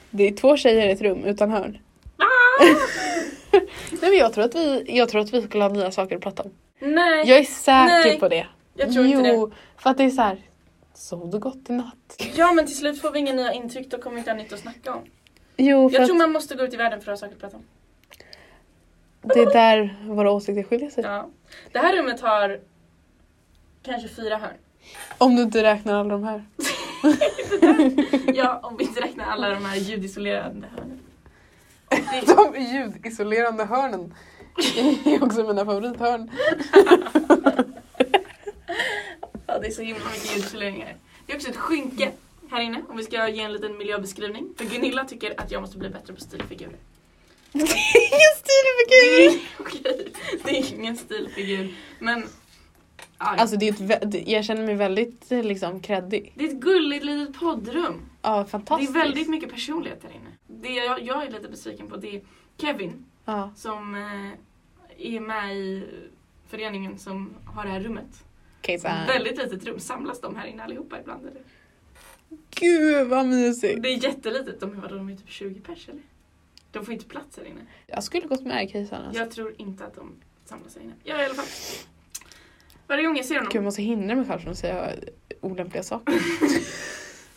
Speaker 2: det är två tjejer i ett rum utan hörn.
Speaker 1: Ah!
Speaker 2: Nej men jag tror att vi, jag tror att vi skulle ha nya saker att prata om.
Speaker 1: Nej, jag,
Speaker 2: Jag är säker
Speaker 1: Nej.
Speaker 2: på det.
Speaker 1: tror
Speaker 2: jo,
Speaker 1: inte det.
Speaker 2: för att det är så här. Sov du gott i natt?
Speaker 1: Ja men till slut får vi inga nya intryck då kommer vi inte ha nytt att snacka om.
Speaker 2: Jo, för
Speaker 1: Jag
Speaker 2: att
Speaker 1: tror man måste gå ut i världen för att ha saker att prata om.
Speaker 2: det är där våra åsikter skiljer sig.
Speaker 1: Ja. Det här rummet har kanske fyra hörn.
Speaker 2: Om du inte räknar alla de här.
Speaker 1: Ja, om vi inte räknar alla de här ljudisolerande hörnen.
Speaker 2: De ljudisolerande hörnen är också mina favorithörn.
Speaker 1: Ja, det är så himla mycket ljudisoleringar. Det är också ett skynke här inne om vi ska ge en liten miljöbeskrivning. För Gunilla tycker att jag måste bli bättre på stilfigurer.
Speaker 2: Det är ingen
Speaker 1: Det är,
Speaker 2: stilfigur!
Speaker 1: okej, det är ingen stilfigur, men ja,
Speaker 2: Alltså det är ett, vä- det- jag känner mig väldigt eh, liksom kreddig.
Speaker 1: det är ett gulligt litet poddrum.
Speaker 2: Ja,
Speaker 1: Det
Speaker 2: fantastiskt.
Speaker 1: är väldigt mycket personlighet här inne. Det jag, jag är lite besviken på det är Kevin
Speaker 2: Ja.
Speaker 1: som eh, är med i föreningen som har det här rummet.
Speaker 2: Kejsaren.
Speaker 1: Väldigt litet rum. Samlas de här inne allihopa ibland? Eller?
Speaker 2: Gud vad mysigt!
Speaker 1: Det är jättelitet. De, vadå, de är typ 20 pers eller? De får inte plats här inne.
Speaker 2: Jag skulle gått med i Kejsaren. Alltså.
Speaker 1: Jag tror inte att de samlas här inne. Ja i alla fall. Varje gång jag ser honom.
Speaker 2: Gud, jag måste hindra mig själv från att säga olämpliga saker.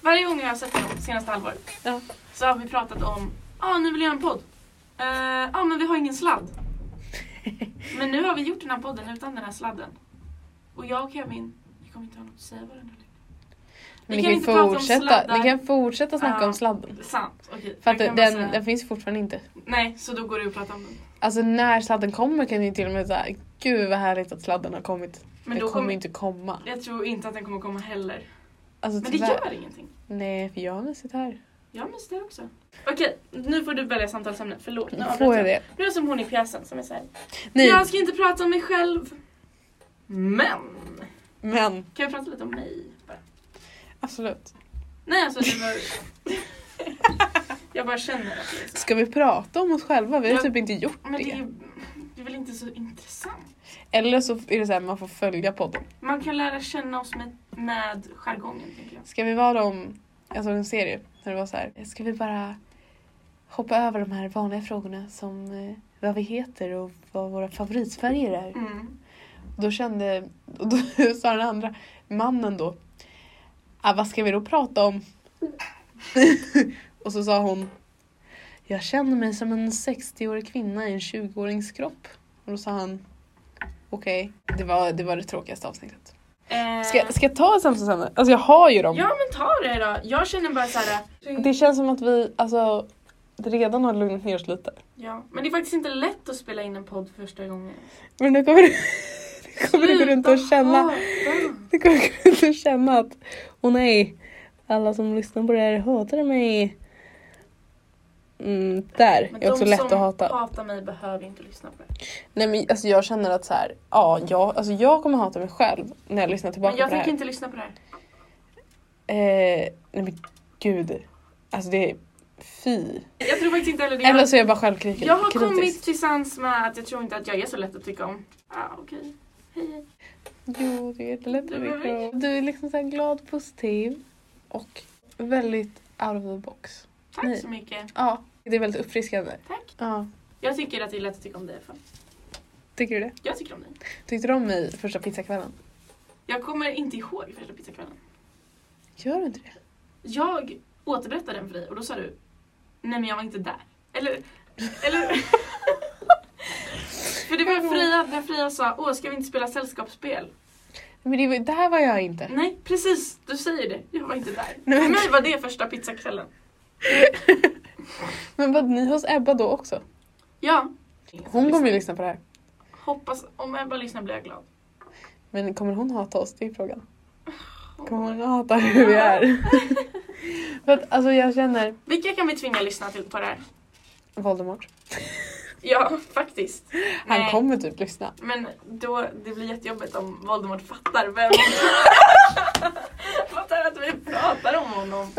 Speaker 1: Varje gång jag har sett honom senaste halvåret.
Speaker 2: Ja.
Speaker 1: Så har vi pratat om. Ja ah, nu vill jag göra en podd. Ja ah, men vi har ingen sladd. Men nu har vi gjort den här podden utan den här sladden. Och jag och Kevin. Vi kommer inte ha något att säga varandra längre. Vi
Speaker 2: Men ni
Speaker 1: kan
Speaker 2: kan,
Speaker 1: inte prata om
Speaker 2: fortsätta,
Speaker 1: sladdar.
Speaker 2: ni kan fortsätta snacka
Speaker 1: Ja.
Speaker 2: om sladden.
Speaker 1: Sant. Okej.
Speaker 2: För
Speaker 1: Man
Speaker 2: att
Speaker 1: kan
Speaker 2: den,
Speaker 1: bara
Speaker 2: den,
Speaker 1: säga-
Speaker 2: finns fortfarande inte.
Speaker 1: Nej så då går det att prata om den.
Speaker 2: Alltså när sladden kommer kan ni till och med säga Gud vad härligt att sladden har kommit.
Speaker 1: Men
Speaker 2: den
Speaker 1: då
Speaker 2: kommer
Speaker 1: kommer
Speaker 2: inte komma.
Speaker 1: Jag tror inte att den kommer komma heller.
Speaker 2: Alltså,
Speaker 1: Men det
Speaker 2: tyvärr.
Speaker 1: gör ingenting.
Speaker 2: Nej, för jag har mysigt här.
Speaker 1: Jag minns det också. Okej, nu får du välja samtalsämne. Förlåt, nu
Speaker 2: Får
Speaker 1: avbryter
Speaker 2: jag
Speaker 1: jag.
Speaker 2: det?
Speaker 1: Du är som hon i pjäsen som är såhär.
Speaker 2: Nej,
Speaker 1: Jag ska inte prata om mig själv. Men.
Speaker 2: men
Speaker 1: Kan vi prata lite om mig? Bara.
Speaker 2: absolut.
Speaker 1: Nej alltså det var... jag bara känner att det är så.
Speaker 2: Ska vi prata om oss själva? Vi har
Speaker 1: Ja.
Speaker 2: typ inte gjort
Speaker 1: Men det
Speaker 2: det.
Speaker 1: är, ju- det är väl inte så intressant?
Speaker 2: Eller så är det så här, man får följa podden.
Speaker 1: Man kan lära känna oss med, med jargongen tänker jag.
Speaker 2: Ska vi vara de... Jag såg en serie där det var så här. Ska vi bara hoppa över de här vanliga frågorna som eh, vad vi heter och vad våra favoritfärger är.
Speaker 1: Mm.
Speaker 2: Då kände... Och då sa den andra mannen då. Ah, vad ska vi då prata om? och så sa hon. Jag känner mig som en 60-årig kvinna i en 20-årings kropp. Och då sa han. Okej, det, var, det var det tråkigaste avsnittet.
Speaker 1: Eh,
Speaker 2: Ska, ska jag ta ett samtalsämne? Alltså jag har ju dem.
Speaker 1: Ja men ta det då. Jag känner bara såhär.
Speaker 2: Det känns som att vi alltså, redan har lugnat ner oss lite.
Speaker 1: Ja. Men det är faktiskt inte lätt att spela in en podd första gången.
Speaker 2: Men nu kommer du, nu kommer du gå runt och
Speaker 1: Sluta
Speaker 2: känna,
Speaker 1: hata.
Speaker 2: nu kommer du gå runt och känna att åh nej, alla som lyssnar på det här hatar mig. Mm, där
Speaker 1: Men
Speaker 2: är också lätt att
Speaker 1: De som
Speaker 2: hata.
Speaker 1: hatar mig behöver inte lyssna på det.
Speaker 2: Nej men alltså jag känner att så här, ja, jag, alltså jag kommer hata mig själv när jag lyssnar tillbaka
Speaker 1: Men jag
Speaker 2: på det
Speaker 1: fick
Speaker 2: här.
Speaker 1: inte lyssna på det här.
Speaker 2: Eh, nej men gud, alltså det är fy.
Speaker 1: Jag tror faktiskt inte heller det.
Speaker 2: Eller
Speaker 1: Jag,
Speaker 2: så är jag bara självkritisk.
Speaker 1: jag har kommit till sans med att jag tror inte att jag är så lätt att tycka om. Ah, okej. Hej, hej.
Speaker 2: Jo, det är lätt
Speaker 1: Du är
Speaker 2: att Du är liksom så här glad och positiv. Och väldigt out of the box.
Speaker 1: Tack
Speaker 2: Nej.
Speaker 1: så mycket.
Speaker 2: Ja, det är väldigt uppfriskande.
Speaker 1: Tack.
Speaker 2: Ja,
Speaker 1: Jag tycker att det är lätt att tycka om dig. Fan.
Speaker 2: tycker du det?
Speaker 1: Jag tycker om dig.
Speaker 2: Tyckte du om mig första pizzakvällen?
Speaker 1: Jag kommer inte ihåg första pizzakvällen.
Speaker 2: Gör du inte det?
Speaker 1: Jag återberättade den för dig och då sa du Nej men jag var inte där. Eller... Eller... för det var Freja, när Freja sa Åh ska vi inte spela sällskapsspel?
Speaker 2: Men det, var- där var jag inte.
Speaker 1: Nej precis, du säger det. Jag var inte där.
Speaker 2: Nej,
Speaker 1: För
Speaker 2: men-
Speaker 1: mig var det första pizzakvällen.
Speaker 2: Men var ni hos Ebba då också?
Speaker 1: Ja.
Speaker 2: Hon kommer ju liksom- lyssna på det här.
Speaker 1: Hoppas, om Ebba lyssnar blir jag glad.
Speaker 2: Men kommer hon hata oss? Det är frågan. Kommer hon hata hur vi är? För att alltså jag känner
Speaker 1: Vilka kan vi tvinga lyssna till på det här?
Speaker 2: Voldemort.
Speaker 1: Ja, faktiskt.
Speaker 2: Han kommer typ lyssna.
Speaker 1: Men då, det blir jättejobbigt om Voldemort fattar vem... fattar att vi pratar om honom.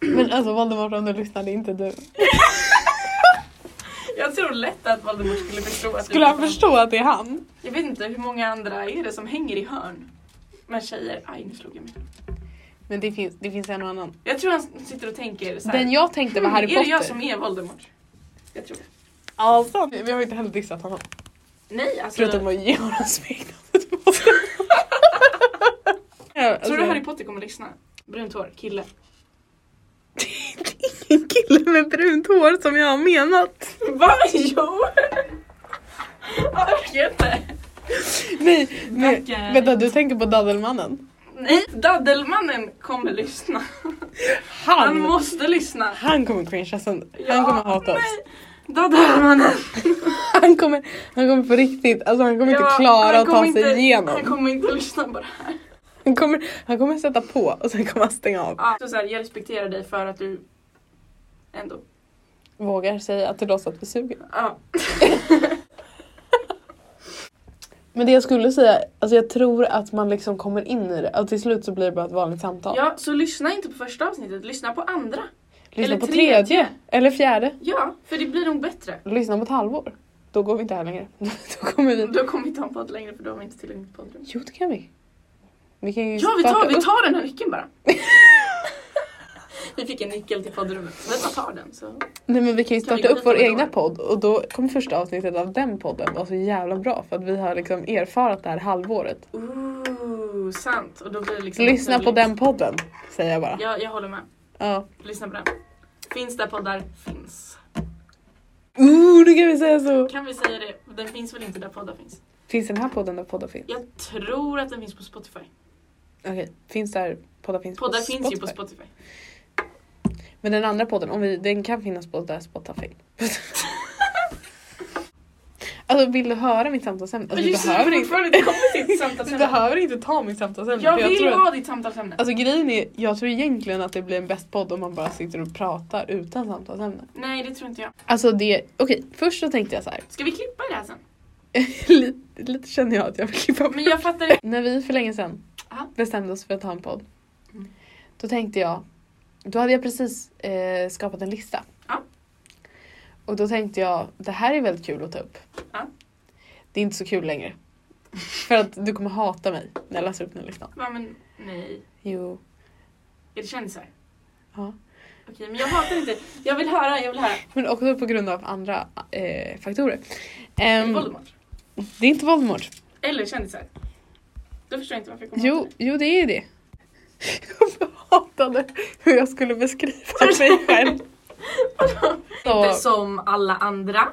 Speaker 2: Men alltså Voldemort om du lyssnar, det är inte du.
Speaker 1: Jag tror lätt att Voldemort skulle förstå att
Speaker 2: Skulle
Speaker 1: vi-
Speaker 2: han förstå att det är han?
Speaker 1: Jag vet inte hur många andra är det som hänger i hörn. Men tjejer, aj nu slog jag mig.
Speaker 2: Men det finns, det finns en och annan.
Speaker 1: Jag tror han sitter och tänker såhär.
Speaker 2: Den jag tänkte var Harry
Speaker 1: Är det jag
Speaker 2: Potter.
Speaker 1: som är Voldemort? Jag tror det.
Speaker 2: Alltså, vi har inte heller dissat honom.
Speaker 1: Nej alltså.
Speaker 2: Förutom att ge honom smeknamnet Voldemort. Ja, alltså,
Speaker 1: Tror du Harry Potter kommer lyssna? Brunt hår, kille.
Speaker 2: Ingen kille med brunt hår som jag har menat.
Speaker 1: Va? Jo! Orkar inte.
Speaker 2: Nej, nej.
Speaker 1: Tackar.
Speaker 2: Vänta du tänker på Daddelmannen?
Speaker 1: Nej, Daddelmannen kommer lyssna. Han
Speaker 2: Han,
Speaker 1: måste lyssna.
Speaker 2: han kommer cringea sönder.
Speaker 1: Ja,
Speaker 2: Han kommer hata oss.
Speaker 1: nej. Daddelmannen.
Speaker 2: Han kommer, han kommer på riktigt, alltså han kommer inte
Speaker 1: Ja,
Speaker 2: klara
Speaker 1: han
Speaker 2: att ta
Speaker 1: kommer
Speaker 2: sig
Speaker 1: inte-
Speaker 2: igenom.
Speaker 1: Han kommer inte lyssna på det här.
Speaker 2: Han kommer, han kommer sätta på och sen kommer han stänga av.
Speaker 1: Ja, så så här, jag respekterar dig för att du ändå...
Speaker 2: Vågar säga att det låtsas att vi suger.
Speaker 1: Ja.
Speaker 2: Men det jag skulle säga, alltså jag tror att man liksom kommer in i det och till slut så blir det bara ett vanligt samtal.
Speaker 1: ja, så lyssna inte på första avsnittet, lyssna på andra.
Speaker 2: Lyssna
Speaker 1: eller
Speaker 2: på tredje.
Speaker 1: tredje.
Speaker 2: eller fjärde.
Speaker 1: Ja, för det blir nog bättre.
Speaker 2: Lyssna på ett halvår. Då går vi inte här längre. Då kommer vi...
Speaker 1: Då kommer vi inte ha en podd längre för då har vi inte tillräckligt poddrum.
Speaker 2: Jo det kan vi. Vi kan ju
Speaker 1: Ja, vi
Speaker 2: starta
Speaker 1: tar, vi
Speaker 2: upp.
Speaker 1: tar den här nyckeln bara. vi fick en nyckel till poddrummet. Vi bara tar den så.
Speaker 2: Nej men vi kan ju
Speaker 1: Kan vi
Speaker 2: starta
Speaker 1: gå
Speaker 2: upp vår
Speaker 1: vidare
Speaker 2: egna
Speaker 1: då?
Speaker 2: podd och då kommer första avsnittet av den podden vara så jävla bra för att vi har liksom erfarat det här halvåret.
Speaker 1: Ooh, sant. Och då blir det liksom
Speaker 2: Lyssna på
Speaker 1: naturligt.
Speaker 2: den podden säger jag bara.
Speaker 1: Ja, jag håller med.
Speaker 2: Ja.
Speaker 1: Lyssna på den. Finns där poddar finns.
Speaker 2: Ooh, Uh, nu kan vi säga så!
Speaker 1: Kan vi säga det? Den finns väl inte där poddar finns?
Speaker 2: Finns den här podden där poddar finns?
Speaker 1: Jag tror att den finns på Spotify.
Speaker 2: Okej, finns där poddar finns
Speaker 1: Poddar
Speaker 2: på
Speaker 1: finns
Speaker 2: Spotify.
Speaker 1: ju på Spotify.
Speaker 2: Men den andra podden, om vi, den kan finnas på där Spotify. alltså vill du höra mitt samtalsämne? Alltså,
Speaker 1: Men
Speaker 2: du
Speaker 1: just det,
Speaker 2: behöver
Speaker 1: vi
Speaker 2: inte,
Speaker 1: fortfarande inte kommit till ditt
Speaker 2: du
Speaker 1: samtalsämne.
Speaker 2: behöver inte ta mitt samtalsämne.
Speaker 1: Jag
Speaker 2: för
Speaker 1: vill
Speaker 2: tror att-
Speaker 1: ha ditt samtalsämne.
Speaker 2: Alltså grejen är, jag tror egentligen att det blir en bäst podd om man bara sitter och pratar utan samtalsämne.
Speaker 1: Nej, det tror inte jag.
Speaker 2: Alltså det, okej först så tänkte jag så här.
Speaker 1: Ska vi klippa i det här sen?
Speaker 2: lite, lite känner jag att jag vill klippa
Speaker 1: Men jag fattar inte.
Speaker 2: När vi för länge sedan
Speaker 1: Aha.
Speaker 2: bestämde oss för att ha en podd.
Speaker 1: Mm.
Speaker 2: Då tänkte jag, då hade jag precis eh, skapat en lista.
Speaker 1: Ja.
Speaker 2: Och då tänkte jag, det här är väldigt kul att ta upp.
Speaker 1: Ja.
Speaker 2: Det är inte så kul längre. för att du kommer hata mig när jag läser upp den här listan.
Speaker 1: Va, men nej.
Speaker 2: Jo.
Speaker 1: Är det kändisar?
Speaker 2: Ja.
Speaker 1: Okej, men jag hatar inte. Jag vill höra, jag vill höra.
Speaker 2: Men också på grund av andra eh, faktorer.
Speaker 1: Är
Speaker 2: Ehm,
Speaker 1: det Voldemort?
Speaker 2: det är inte Voldemort.
Speaker 1: Eller kändisar? Då förstår jag inte varför jag kommer
Speaker 2: Jo,
Speaker 1: ihåg
Speaker 2: jo, det är det. Jag hatade hur jag skulle beskriva mig själv.
Speaker 1: det.
Speaker 2: Så-
Speaker 1: Inte som alla andra.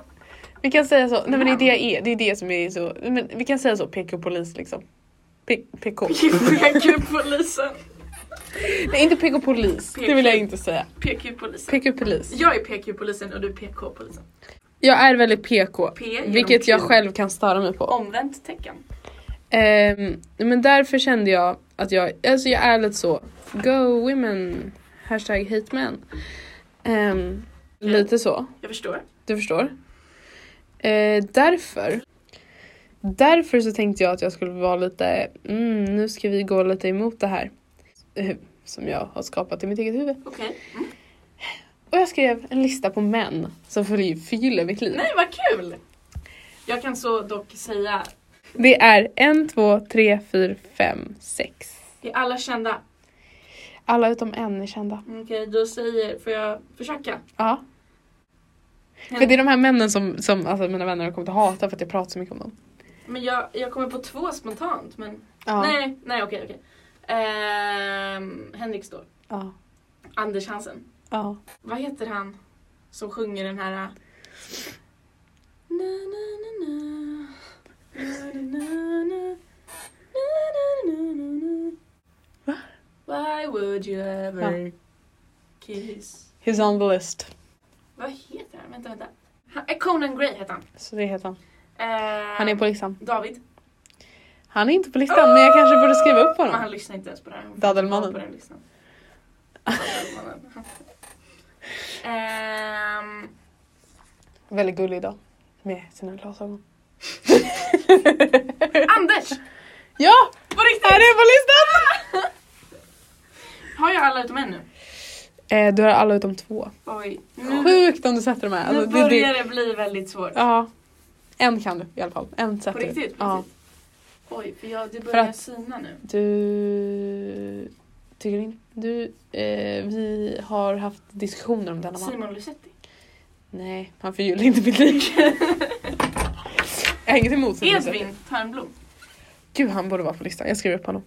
Speaker 2: Vi kan säga så. Nej men det är det jag är. Det är det som är så. Men vi kan säga så. PK polis liksom. P- PK.
Speaker 1: PQ-polisen.
Speaker 2: Nej inte PK polis. Det vill jag inte säga.
Speaker 1: PQ-polisen.
Speaker 2: PK polis.
Speaker 1: Jag är PQ-polisen och du är PK-polisen.
Speaker 2: Jag är väldigt PK.
Speaker 1: P genom
Speaker 2: Vilket jag
Speaker 1: Q.
Speaker 2: själv kan störa mig på.
Speaker 1: Omvänt tecken.
Speaker 2: Ehm, men därför kände jag att jag, alltså jag är lite så. Go women. Hashtag hate men. Ehm, lite så.
Speaker 1: Jag förstår.
Speaker 2: Du förstår. Eh, därför. Därför så tänkte jag att jag skulle vara lite, mm, nu ska vi gå lite emot det här. Eh, som jag har skapat i mitt eget huvud.
Speaker 1: Okej. Mm.
Speaker 2: Och jag skrev en lista på män som följer- förgyller mitt liv.
Speaker 1: Nej, vad kul! Jag kan så dock säga,
Speaker 2: Det är en, två, tre, fyra, fem, sex.
Speaker 1: det är alla kända.
Speaker 2: Alla utom en är kända.
Speaker 1: Okej, då säger, får jag försöka?
Speaker 2: Ja. För det är de här männen som, som alltså mina vänner har kommit att hata för att jag pratar så mycket om dem.
Speaker 1: Men jag, jag kommer på två spontant, men
Speaker 2: Ja.
Speaker 1: nej, nej okej okej. Ehm, Henrik Ståhl.
Speaker 2: Ja.
Speaker 1: Anders Hansen.
Speaker 2: ja.
Speaker 1: Vad heter han som sjunger den här... äh, Na, na, na, na. Na, na, na, na. Na, na, na, na, na. Why would you ever kiss...
Speaker 2: He's on the list.
Speaker 1: Vad heter han? Vänta, vänta. Han, eh, Conan Gray heter han.
Speaker 2: Så det heter han.
Speaker 1: Ehm,
Speaker 2: Han är på listan.
Speaker 1: David.
Speaker 2: Han är inte på listan men jag kanske borde skriva upp
Speaker 1: Men han
Speaker 2: honom.
Speaker 1: lyssnar inte ens på det här. Han får
Speaker 2: Daddelmannen.
Speaker 1: inte vara På den listan. Daddelmannen. Ehm,
Speaker 2: Väldigt gullig idag. Med sina glasögon.
Speaker 1: Anders!
Speaker 2: Ja!
Speaker 1: På riktigt!
Speaker 2: Han är på listan!
Speaker 1: Har jag alla utom en nu?
Speaker 2: Eh, du har alla utom två.
Speaker 1: Oj. Nu,
Speaker 2: Sjukt om du sätter dem här.
Speaker 1: Mm. nu
Speaker 2: Alltså, det,
Speaker 1: börjar
Speaker 2: det,
Speaker 1: det bli väldigt svårt.
Speaker 2: ja. En kan du i alla fall. En
Speaker 1: På
Speaker 2: sätter du.
Speaker 1: riktigt? På
Speaker 2: Ja.
Speaker 1: riktigt. Oj, för jag, det börjar
Speaker 2: att-
Speaker 1: sina nu.
Speaker 2: Du... Tycker inte... Du... Eh, vi har haft diskussioner om denna man.
Speaker 1: Simon Lusetti.
Speaker 2: Nej, han förgyller inte mitt liv. jag har inget emot Simon Lusetti.
Speaker 1: Edvin Törnblom.
Speaker 2: Gud, han borde vara på listan. Jag skriver upp honom.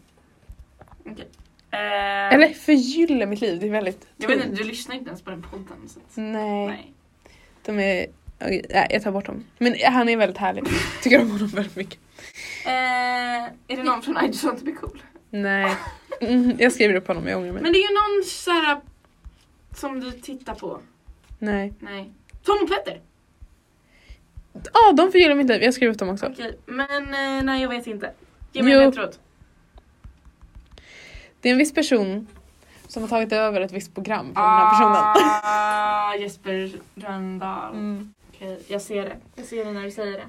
Speaker 1: Eh,
Speaker 2: Eller förgyller mitt liv. Det är väldigt
Speaker 1: Jag vet
Speaker 2: tungt.
Speaker 1: inte, du lyssnar inte ens på den podden. Så att,
Speaker 2: Nej.
Speaker 1: nej.
Speaker 2: De är... okej, nej, jag tar bort dem. Men han är väldigt härlig. Tycker om honom väldigt mycket.
Speaker 1: Ehm, Eh, är det någon från I just want to be cool?
Speaker 2: Nej. Mm, jag skriver upp honom, jag ångrar mig.
Speaker 1: Men det är ju någon så här som du tittar på.
Speaker 2: Nej.
Speaker 1: Nej. Tom och Petter!
Speaker 2: Ja, de förgyller mitt liv. Jag skriver upp dem också.
Speaker 1: Okej, men eh, nej jag vet inte. Ge mig
Speaker 2: Jo.
Speaker 1: en ledtråd.
Speaker 2: Det är en viss person som har tagit över ett visst program från den här personen.
Speaker 1: Ah, Jesper Rönndahl.
Speaker 2: Mm.
Speaker 1: Okej, jag ser det. Jag ser det när du säger det.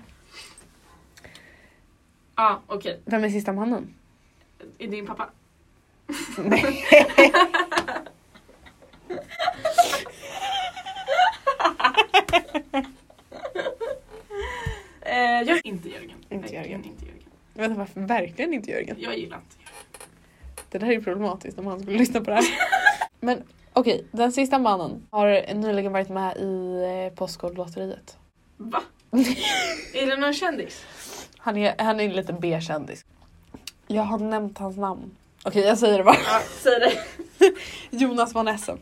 Speaker 1: Ja, ah, okej.
Speaker 2: Vem är sista mannen?
Speaker 1: Är din pappa?
Speaker 2: Nej.
Speaker 1: Eh, jag inte Jörgen.
Speaker 2: Inte
Speaker 1: Verkligen
Speaker 2: Jörgen.
Speaker 1: Inte Jörgen.
Speaker 2: Vänta, varför? Verkligen inte Jörgen.
Speaker 1: Jag gillar inte Jörgen.
Speaker 2: Det där är ju problematiskt om han skulle lyssna på det här. Men okej, den sista mannen har nyligen varit med i eh, Postkodlotteriet.
Speaker 1: Va? är det någon kändis?
Speaker 2: Han är, han är lite B-kändis. Jag har nämnt hans namn. Okej, jag säger det bara.
Speaker 1: Ja, säg det.
Speaker 2: Jonas von Essen.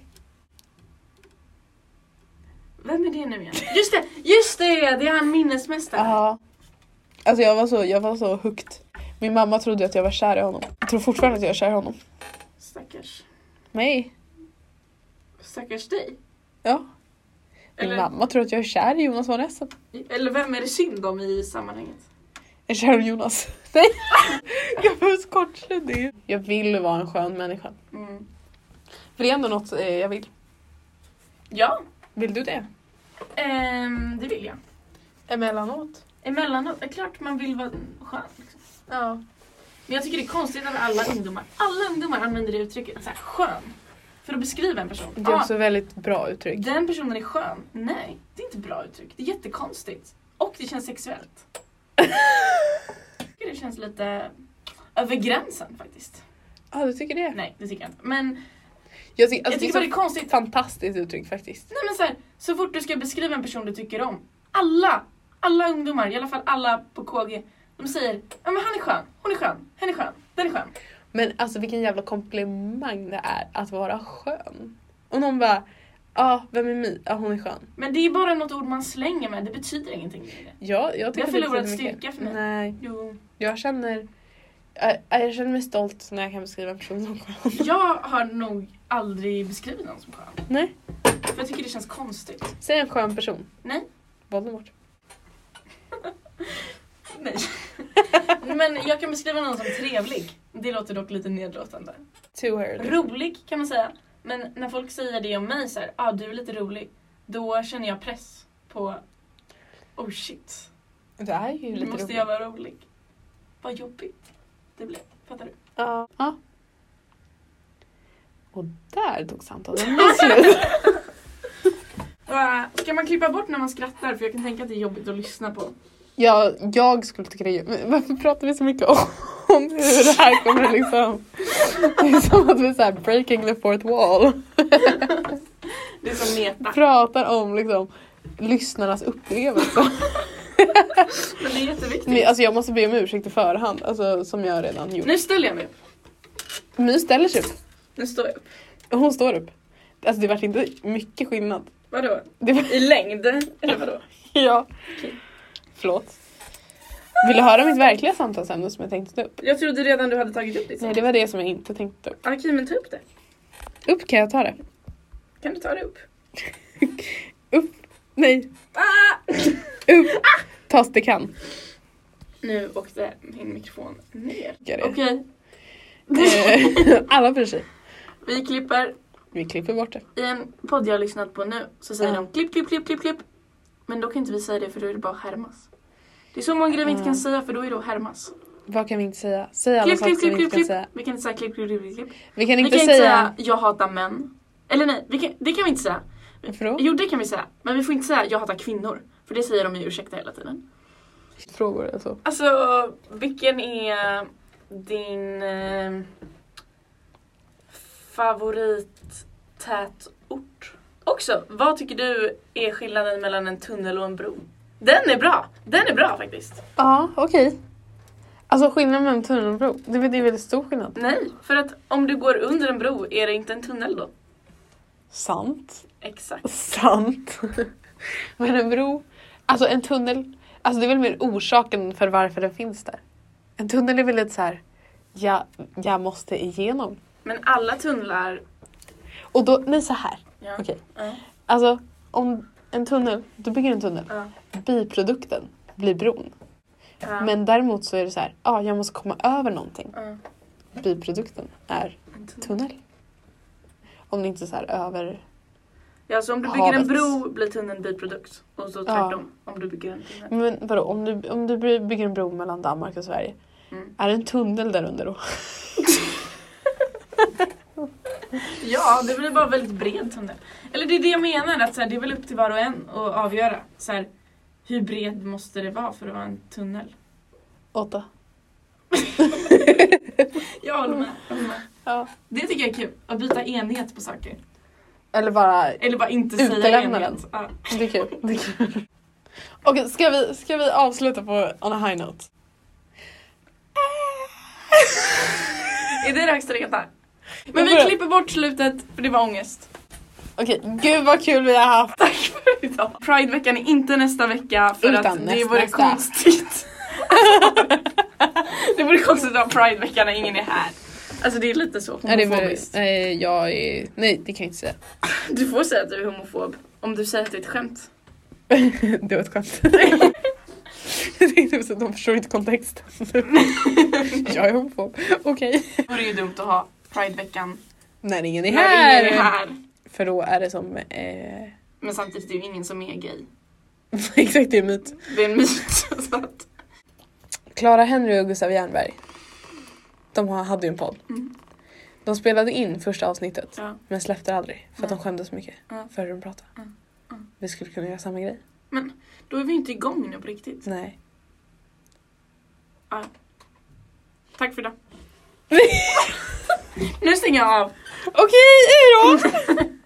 Speaker 1: Vem är det nu igen? Just det! Just det! Det är han minnesmästaren.
Speaker 2: Ja. Alltså jag var så, jag var så hooked. Min mamma trodde att jag var kär i honom. Jag tror fortfarande att jag är kär i honom.
Speaker 1: Stackars.
Speaker 2: Nej.
Speaker 1: Stackars dig.
Speaker 2: Ja. Min
Speaker 1: Eller,
Speaker 2: mamma tror att jag är kär i Jonas von Essen.
Speaker 1: eller vem är det synd om i sammanhanget?
Speaker 2: Jag är kär i Jonas. Nej. jag var så kortslutning. Jag vill vara en skön människa.
Speaker 1: Mm.
Speaker 2: För det är ändå något eh, jag vill.
Speaker 1: Ja,
Speaker 2: Vill du det?
Speaker 1: ehm, det vill jag.
Speaker 2: Emellanåt.
Speaker 1: Emellanåt, det är klart man vill vara skön. Liksom.
Speaker 2: Ja.
Speaker 1: Men jag tycker det är konstigt att alla ungdomar, alla ungdomar använder det uttrycket, så här, skön. För att beskriva en person.
Speaker 2: Det är
Speaker 1: Ah,
Speaker 2: också väldigt bra uttryck.
Speaker 1: Den personen är skön. Nej, det är inte bra uttryck. Det är jättekonstigt. Och det känns sexuellt. Jag tycker det känns lite över gränsen faktiskt.
Speaker 2: Ja, du tycker det?
Speaker 1: Nej, det tycker jag inte. Men
Speaker 2: Jag, tycker
Speaker 1: jag
Speaker 2: alltså,
Speaker 1: tycker
Speaker 2: det
Speaker 1: bara
Speaker 2: är
Speaker 1: det
Speaker 2: ett
Speaker 1: är konstigt.
Speaker 2: fantastiskt uttryck faktiskt.
Speaker 1: Nej men så, här, så fort du ska beskriva en person du tycker om. Alla, alla ungdomar, i alla fall alla på KG. De säger ja men han är skön, hon är skön, hen är skön, den är skön.
Speaker 2: Men alltså vilken jävla komplimang det är att vara skön. Och någon bara, ja vem är Mi? Ja hon är skön.
Speaker 1: Men det är bara något ord man slänger med, det betyder ingenting. längre.
Speaker 2: Ja, jag tycker
Speaker 1: Det har förlorat
Speaker 2: betyder mycket.
Speaker 1: styrka för mig.
Speaker 2: Nej,
Speaker 1: Jo.
Speaker 2: jag känner, jag, jag känner mig stolt när jag kan beskriva en person som skön.
Speaker 1: Jag har nog aldrig beskrivit någon som skön.
Speaker 2: Nej,
Speaker 1: För jag tycker det känns konstigt.
Speaker 2: säg en skön person.
Speaker 1: Nej.
Speaker 2: Voldemort.
Speaker 1: Nej. Men jag kan beskriva någon som trevlig. Det låter dock lite nedlåtande.
Speaker 2: To her.
Speaker 1: Rolig kan man säga. Men när folk säger det om mig så här, ah, du är lite rolig. Då känner jag press på, oh shit,
Speaker 2: Du är ju
Speaker 1: nu
Speaker 2: lite
Speaker 1: måste
Speaker 2: rolig.
Speaker 1: jag vara rolig. Vad jobbigt det blev. Fattar du?
Speaker 2: Ja. ja. Och där tog samtalet slut.
Speaker 1: Ah, Ska man klippa bort när man skrattar? För jag kan tänka att det är jobbigt att lyssna på.
Speaker 2: Ja, jag skulle tycka det är men Varför pratar vi så mycket om, om hur det här kommer liksom... Det är som att vi är så här breaking the fourth wall.
Speaker 1: Det är som meta.
Speaker 2: Pratar om liksom lyssnarnas upplevelse.
Speaker 1: Men det är jätteviktigt.
Speaker 2: Men, alltså jag måste be om ursäkt i förhand, alltså, som jag redan gjort.
Speaker 1: Nu ställer jag mig upp.
Speaker 2: My ställer sig upp.
Speaker 1: Nu står jag upp.
Speaker 2: Hon står upp. Alltså det vart inte mycket skillnad.
Speaker 1: Vadå?
Speaker 2: Det var...
Speaker 1: I längd? Eller vadå?
Speaker 2: Ja.
Speaker 1: Okej.
Speaker 2: Förlåt. Vill du höra mitt verkliga samtalsämne som jag tänkte ta upp?
Speaker 1: Jag trodde redan du hade tagit upp ditt.
Speaker 2: Nej, det var det som jag inte tänkte ta upp.
Speaker 1: Okej, men ta upp det.
Speaker 2: Upp kan jag ta det.
Speaker 1: Kan du ta det upp?
Speaker 2: Nej,
Speaker 1: Ah!
Speaker 2: upp. Tas det kan.
Speaker 1: Nu åkte min mikrofon ner.
Speaker 2: Gör det.
Speaker 1: Okej,
Speaker 2: Eh, Alla bryr sig.
Speaker 1: vi klipper.
Speaker 2: Vi klipper bort det.
Speaker 1: I en podd jag har lyssnat på nu så säger
Speaker 2: Ja.
Speaker 1: de klipp, klipp, klipp, klipp, klipp. Men då kan inte vi säga det för då är det bara att härmas. Det är så många grejer vi inte
Speaker 2: Ja.
Speaker 1: kan säga för då är det att härmas.
Speaker 2: Vad kan vi inte säga? Säg alla
Speaker 1: Klipp,
Speaker 2: saker
Speaker 1: klipp,
Speaker 2: som vi
Speaker 1: klipp,
Speaker 2: inte
Speaker 1: klipp,
Speaker 2: kan
Speaker 1: klipp.
Speaker 2: säga.
Speaker 1: Vi kan inte säga klipp, klipp, klipp, klipp.
Speaker 2: Vi kan
Speaker 1: Vi
Speaker 2: inte
Speaker 1: kan inte
Speaker 2: säga...
Speaker 1: säga jag hatar män. Eller nej, vi kan, det kan vi inte säga.
Speaker 2: Varför då?
Speaker 1: Jo, det kan vi säga. Men vi får inte säga jag hatar kvinnor. För det säger de ju ursäkta hela tiden.
Speaker 2: Frågor eller så.
Speaker 1: Alltså, vilken är din eh, favorittätort? Också, vad tycker du är skillnaden mellan en tunnel och en bro? Den är bra! Den är bra faktiskt.
Speaker 2: Ja, okej. Alltså skillnaden mellan tunnel och bro, det är det är väldigt stor skillnad.
Speaker 1: Nej, för att om du går under en bro är det inte en tunnel då.
Speaker 2: Sant.
Speaker 1: Exakt.
Speaker 2: Sant. Men en bro, alltså en tunnel, alltså det är väl mer orsaken för varför den finns där. En tunnel är väl lite så här jag, jag måste igenom.
Speaker 1: Men alla tunnlar...
Speaker 2: Och då, nej så här.
Speaker 1: Ja.
Speaker 2: Okej.
Speaker 1: Ja.
Speaker 2: Alltså om en tunnel, du bygger en tunnel.
Speaker 1: Ja.
Speaker 2: Biprodukten blir bron.
Speaker 1: Ja.
Speaker 2: Men däremot så är det så här, ja jag måste komma över någonting.
Speaker 1: Ja.
Speaker 2: Biprodukten är
Speaker 1: En tunnel.
Speaker 2: tunnel. Om det inte är så här över...
Speaker 1: Ja, så om du bygger en
Speaker 2: Havet.
Speaker 1: bro blir tunneln biprodukt. Och så
Speaker 2: Ja. Mm.
Speaker 1: tvärtom. Om du bygger en tunnel.
Speaker 2: Men vadå, om du, om du by- bygger en bro mellan Danmark och Sverige.
Speaker 1: Mm.
Speaker 2: Är det en tunnel där under då?
Speaker 1: Ja, det blir bara en väldigt bred tunnel. Eller det är det jag menar, att så här, det är väl upp till var och en att avgöra. Så här, hur bred måste det vara för att vara en tunnel?
Speaker 2: Åtta.
Speaker 1: Jag håller med. jag håller med.
Speaker 2: Ja.
Speaker 1: Det tycker jag är kul, att byta enhet på saker.
Speaker 2: Eller bara,
Speaker 1: Eller bara inte säga
Speaker 2: Utelämna
Speaker 1: enhet. Ja.
Speaker 2: det är kul. Det är kul. Okej, ska, vi, ska vi avsluta på on a high note?
Speaker 1: Är det det högsta det kan ta? Men
Speaker 2: Men
Speaker 1: vi
Speaker 2: vadå?
Speaker 1: klipper bort slutet, för det var ångest.
Speaker 2: Okej, gud vad kul vi har haft.
Speaker 1: Tack för idag. Prideveckan är inte nästa vecka för
Speaker 2: Utan
Speaker 1: att det
Speaker 2: näst-
Speaker 1: vore
Speaker 2: nästa.
Speaker 1: konstigt. det vore konstigt att ha Prideveckan när ingen är här. Alltså det är lite så
Speaker 2: Ja, det var,
Speaker 1: homofobiskt.
Speaker 2: nej, jag är, nej, det kan jag inte säga.
Speaker 1: Du får säga att du är homofob om du säger att det är ett skämt.
Speaker 2: det var ett skämt. jag tänkte också att de förstår inte kontexten. jag är homofob. Okej.
Speaker 1: Det vore ju dumt att ha Prideveckan
Speaker 2: När ingen är
Speaker 1: när
Speaker 2: här.
Speaker 1: ingen är här.
Speaker 2: För då är det som... Eh,
Speaker 1: Men samtidigt är det ju ingen som är gay.
Speaker 2: exakt, det är en myt.
Speaker 1: Det är en myt. Så att,
Speaker 2: Clara Henry och Gustav Jernberg. De har- hade ju en podd.
Speaker 1: Mm.
Speaker 2: De spelade in första avsnittet
Speaker 1: ja.
Speaker 2: men släppte det aldrig för att de
Speaker 1: Mm.
Speaker 2: skämdes så mycket
Speaker 1: Mm.
Speaker 2: för hur de pratade.
Speaker 1: Mm. Mm.
Speaker 2: Vi skulle kunna göra samma grej.
Speaker 1: Då är vi inte igång nu på riktigt.
Speaker 2: Nej.
Speaker 1: Tack för idag. nu stänger jag av.
Speaker 2: Okej, hejdå!